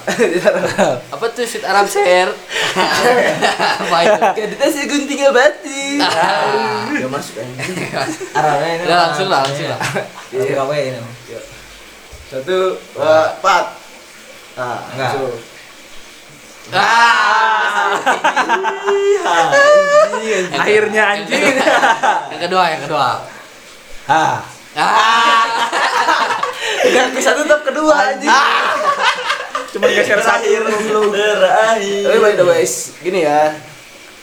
Speaker 4: Apa tuh Sweet Arab share? Apa itu?
Speaker 3: kita sih gunting batu
Speaker 4: Ah.
Speaker 3: udah Iya, masuk eh. anjing
Speaker 2: Arahnya
Speaker 1: Ya,
Speaker 2: ini.
Speaker 4: Udah langsung lah, langsung lah.
Speaker 2: Iya. Kawe ini.
Speaker 3: satu dua, empat ah
Speaker 2: Enggak.
Speaker 3: langsung.
Speaker 4: Ah.
Speaker 1: Akhirnya anjing.
Speaker 4: Yang kedua, yang kedua.
Speaker 2: Ah.
Speaker 4: Ah.
Speaker 3: Gak bisa tutup kedua anjing
Speaker 2: Ah.
Speaker 1: Cuma geser satu.
Speaker 2: Terakhir.
Speaker 3: Tapi by the way, s- gini ya.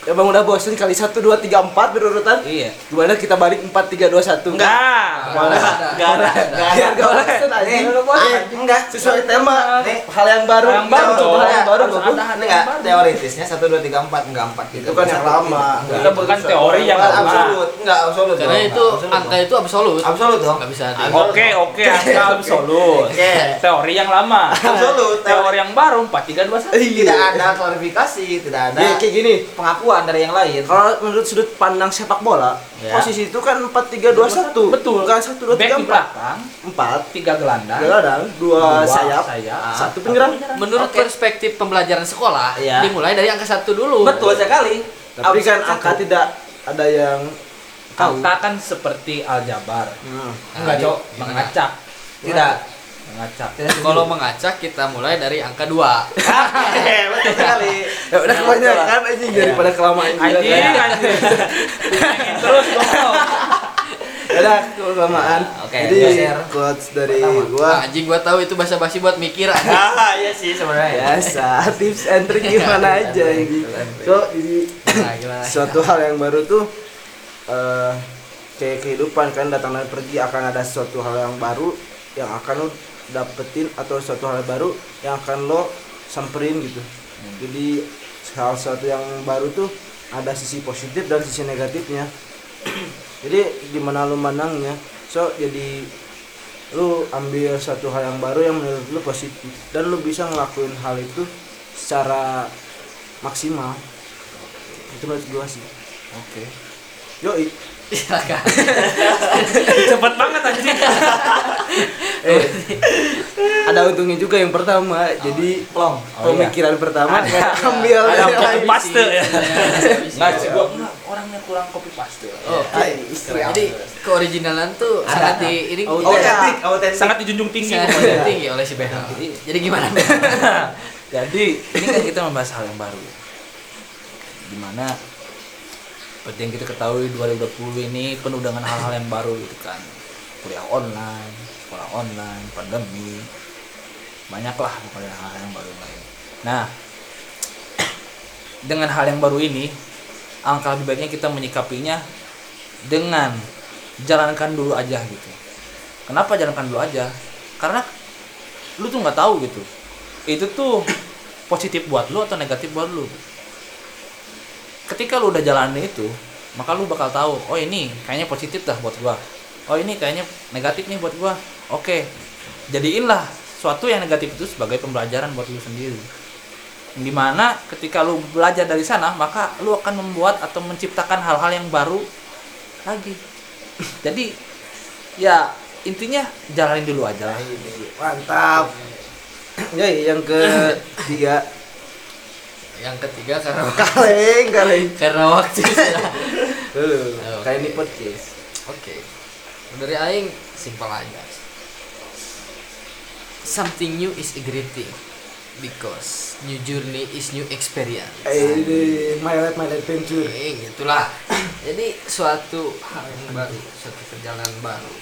Speaker 3: Emang udah bosen kali 1 2 3 4 berurutan?
Speaker 1: Iya.
Speaker 3: Gimana kita balik 4 3 2 1?
Speaker 1: Enggak.
Speaker 4: Boleh.
Speaker 1: Enggak ada.
Speaker 3: Enggak ada. Enggak
Speaker 1: Boleh.
Speaker 3: bosen aja.
Speaker 2: Nih,
Speaker 3: Enggak bosen.
Speaker 2: eh, enggak.
Speaker 3: Sesuai tema. Nih, hal yang baru.
Speaker 1: Yang baru,
Speaker 3: Kita coba Hal yang baru.
Speaker 1: harus
Speaker 3: Bapak.
Speaker 1: ada.
Speaker 2: Ini enggak teoritisnya 1 2 3 4 enggak 4 gitu.
Speaker 3: Itu kan yang lama.
Speaker 2: Enggak.
Speaker 1: Kita bukan teori yang
Speaker 2: Enggak,
Speaker 1: lama.
Speaker 2: absolut, enggak absolut.
Speaker 4: Karena
Speaker 2: dong,
Speaker 4: itu
Speaker 2: enggak, absolut
Speaker 4: angka
Speaker 2: dong.
Speaker 4: itu absolut.
Speaker 2: absolut dong.
Speaker 4: Nggak bisa di-
Speaker 2: Absolut.
Speaker 1: Oke, oke, angka absolut.
Speaker 2: Oke.
Speaker 1: Teori yang lama.
Speaker 2: Absolut.
Speaker 1: Teori yang baru 4321.
Speaker 3: Iya.
Speaker 2: Tidak ada klarifikasi, tidak ada
Speaker 3: Iya, kayak gini.
Speaker 2: pengakuan dari yang lain.
Speaker 3: Kalau menurut sudut pandang sepak bola,
Speaker 2: Ya.
Speaker 3: posisi itu kan 4 3 2 1.
Speaker 1: Betul.
Speaker 3: Bukan 1
Speaker 1: Back
Speaker 3: 2
Speaker 1: di
Speaker 3: 3 4.
Speaker 1: belakang,
Speaker 3: 4
Speaker 1: tiga
Speaker 2: Ah.
Speaker 1: gelandang,
Speaker 3: gelandang, 2
Speaker 1: dua
Speaker 3: sayap,
Speaker 1: sayap,
Speaker 3: satu penyerang.
Speaker 4: Menurut
Speaker 2: Oke.
Speaker 4: perspektif pembelajaran sekolah,
Speaker 2: Iya.
Speaker 4: dimulai dari angka satu dulu.
Speaker 2: Betul sekali.
Speaker 3: Tapi kan
Speaker 2: Absolut.
Speaker 3: angka tidak ada yang tahu.
Speaker 1: Angka kan seperti aljabar,
Speaker 3: Hmm.
Speaker 2: Enggak, Cok.
Speaker 1: mengacak,
Speaker 2: Tidak.
Speaker 1: mengacak.
Speaker 2: Tidak setuju.
Speaker 4: Kalau mengacak kita mulai dari angka dua.
Speaker 2: Hehehe, betul sekali. Nah,
Speaker 3: Ya udah kebanyakan anjing
Speaker 2: Iya.
Speaker 3: daripada kelamaan juga
Speaker 1: Anjing,
Speaker 3: kan.
Speaker 1: anjing. Pengen Terus goblok.
Speaker 3: Ya udah kelamaan.
Speaker 2: Oke,
Speaker 3: Jadi
Speaker 2: gua share.
Speaker 3: quotes dari
Speaker 2: Pertama. Nah,
Speaker 3: gua
Speaker 4: Anjing gua tahu itu basa-basi buat mikir. anjing.
Speaker 2: Ah, iya sih sebenarnya.
Speaker 3: biasa Ya, tips and trick
Speaker 2: Iya,
Speaker 3: gimana aja ini. So jadi
Speaker 4: Nah, gimana?
Speaker 3: suatu hal yang baru tuh eh kayak kehidupan kan datang dan pergi akan ada suatu hal yang baru yang akan lo dapetin atau suatu hal baru yang akan lo samperin gitu jadi hal suatu yang baru tuh ada sisi positif dan sisi negatifnya jadi gimana lo menangnya so jadi lu ambil satu hal yang baru yang menurut lu positif dan lu bisa ngelakuin hal itu secara maksimal itu menurut gua sih
Speaker 1: Oke.
Speaker 3: yoi
Speaker 4: Silakan.
Speaker 1: Cepet banget anjing.
Speaker 3: eh, ada untungnya juga yang pertama jadi
Speaker 2: Plong.
Speaker 1: Oh, iya.
Speaker 3: pemikiran pertama
Speaker 1: Ada. Ada
Speaker 3: ambil yang
Speaker 1: copy
Speaker 3: lain.
Speaker 1: paste
Speaker 4: Iya,
Speaker 1: ya. Enggak sih gua
Speaker 4: Nggak
Speaker 1: enggak, orangnya kurang copy paste.
Speaker 2: Oh.
Speaker 4: Oke.
Speaker 3: Ay, istri.
Speaker 4: Oh, Jadi keoriginalan tuh sangat di ini
Speaker 3: Oh,
Speaker 2: Oh,
Speaker 4: iya.
Speaker 2: autentik, autentik.
Speaker 1: Iya. Sangat dijunjung tinggi.
Speaker 4: sangat
Speaker 1: pokoknya.
Speaker 4: ditinggi oleh si Behel. Jadi gimana?
Speaker 1: Jadi ini kan kita membahas hal yang baru. ya. Dimana seperti yang kita ketahui 2020 ini penuh dengan hal-hal yang baru gitu kan. Kuliah online, sekolah online, pandemi. Banyaklah pokoknya hal-hal yang baru lain. Nah, dengan hal yang baru ini angka lebih baiknya kita menyikapinya dengan jalankan dulu aja gitu. Kenapa jalankan dulu aja? Karena lu tuh nggak tahu gitu itu tuh positif buat lu atau negatif buat lu ketika lu udah jalanin itu maka lu bakal tahu oh ini kayaknya positif dah buat gua oh ini kayaknya negatif nih buat gua oke jadiinlah suatu yang negatif itu sebagai pembelajaran buat lu sendiri dimana ketika lu belajar dari sana maka lu akan membuat atau menciptakan hal-hal yang baru lagi jadi ya intinya jalanin dulu aja lah
Speaker 3: mantap yoi yang ketiga
Speaker 4: Yang ketiga karena
Speaker 3: kaleng kaleng
Speaker 4: karena waktu.
Speaker 3: Dulu,
Speaker 4: Oh,
Speaker 3: kayak ini
Speaker 4: oke.
Speaker 3: podcast
Speaker 4: Oke. Dari aing simpel aja. Something new is a great thing because new journey is new experience.
Speaker 3: Eh, ini my life my life adventure
Speaker 4: Eh, gitulah. Jadi suatu hal yang baru, suatu perjalanan baru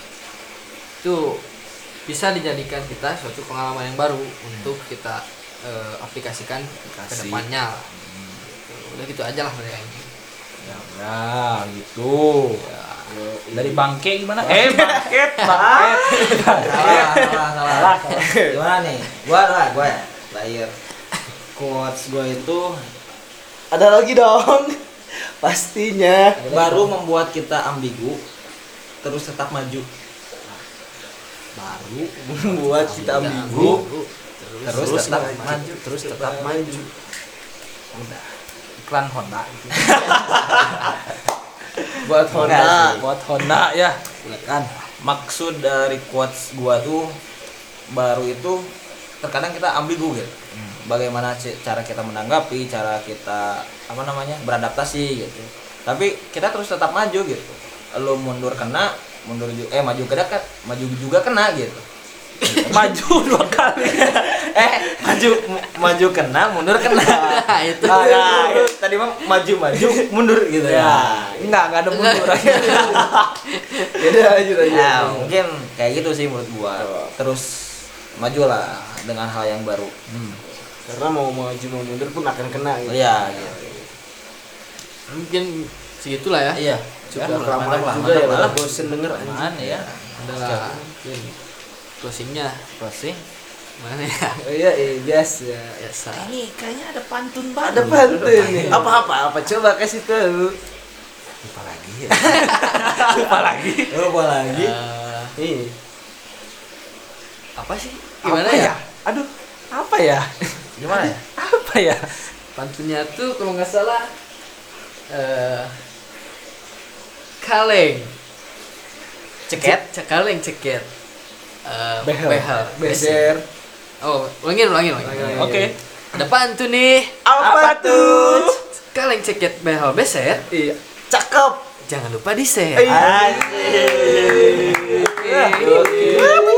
Speaker 4: itu bisa dijadikan kita suatu pengalaman yang baru untuk kita eh, aplikasikan ke
Speaker 2: Aplikasi.
Speaker 4: depannya lah. Gitu. udah gitu aja lah mereka ini
Speaker 1: ya, ya gitu dari bangke gimana eh bangke
Speaker 2: salah salah salah gimana nih gua lah gua ya player
Speaker 3: quotes gue itu ada lagi dong pastinya
Speaker 2: baru membuat kita ambigu terus tetap maju
Speaker 3: baru membuat kita ambigu
Speaker 4: Ambigu. terus,
Speaker 2: terus,
Speaker 4: terus
Speaker 2: tetap
Speaker 3: maju.
Speaker 2: maju, terus tetap
Speaker 3: tetap
Speaker 2: maju
Speaker 3: maju
Speaker 1: iklan Honda
Speaker 3: buat Honda
Speaker 1: buat Honda ya
Speaker 2: kan maksud dari quotes gua tuh baru itu terkadang kita ambigu gitu bagaimana c- cara kita menanggapi cara kita apa namanya beradaptasi gitu tapi kita terus tetap maju gitu lo mundur kena mundur ju- eh maju ke dekat maju juga kena gitu
Speaker 1: maju dua kali
Speaker 2: eh maju mu- maju kena mundur kena
Speaker 4: Nah, itu.
Speaker 2: Ah, nah, itu. tadi mah maju maju mundur gitu ya Iya.
Speaker 1: enggak enggak ada mundur
Speaker 3: jadi lanjut aja
Speaker 2: Ya, mungkin kayak gitu sih menurut gua. Terus majulah dengan hal yang baru.
Speaker 3: karena mau maju mau mundur pun akan kena gitu
Speaker 2: Iya, gitu.
Speaker 4: mungkin segitulah ya
Speaker 2: Iya.
Speaker 4: Cukup
Speaker 2: Kan,
Speaker 3: Lama
Speaker 2: mantap lah,
Speaker 3: juga ya
Speaker 2: mantap
Speaker 3: udah
Speaker 2: lah.
Speaker 3: bosen denger anjing
Speaker 1: Apaan ya
Speaker 4: adalah mungkin closingnya
Speaker 2: Closing.
Speaker 4: mana ya
Speaker 3: oh iya iya biasa
Speaker 4: biasa
Speaker 1: ini kayaknya ada pantun
Speaker 3: ada pantun nih apa apa apa coba kasih tahu
Speaker 2: Lupa lagi.
Speaker 1: apa lagi
Speaker 2: Lupa lagi.
Speaker 4: Eh,
Speaker 3: nih
Speaker 4: apa sih gimana
Speaker 1: Apa
Speaker 4: ya?
Speaker 1: aduh apa ya
Speaker 2: Gimana ya?
Speaker 1: apa ya
Speaker 4: pantunnya tuh kalau nggak salah eh kaleng
Speaker 2: Ceket.
Speaker 4: Ce- kaleng ceket Eh,
Speaker 1: Behel.
Speaker 3: beser
Speaker 4: oh ulangin ulangin ulangin
Speaker 3: Ulangin.
Speaker 1: oke
Speaker 4: ada pantun nih
Speaker 3: apa tuh
Speaker 4: kaleng ceket behel beser
Speaker 3: iya cakep
Speaker 1: Iya. Ah.
Speaker 4: jangan lupa di share
Speaker 3: Anjing. Oke.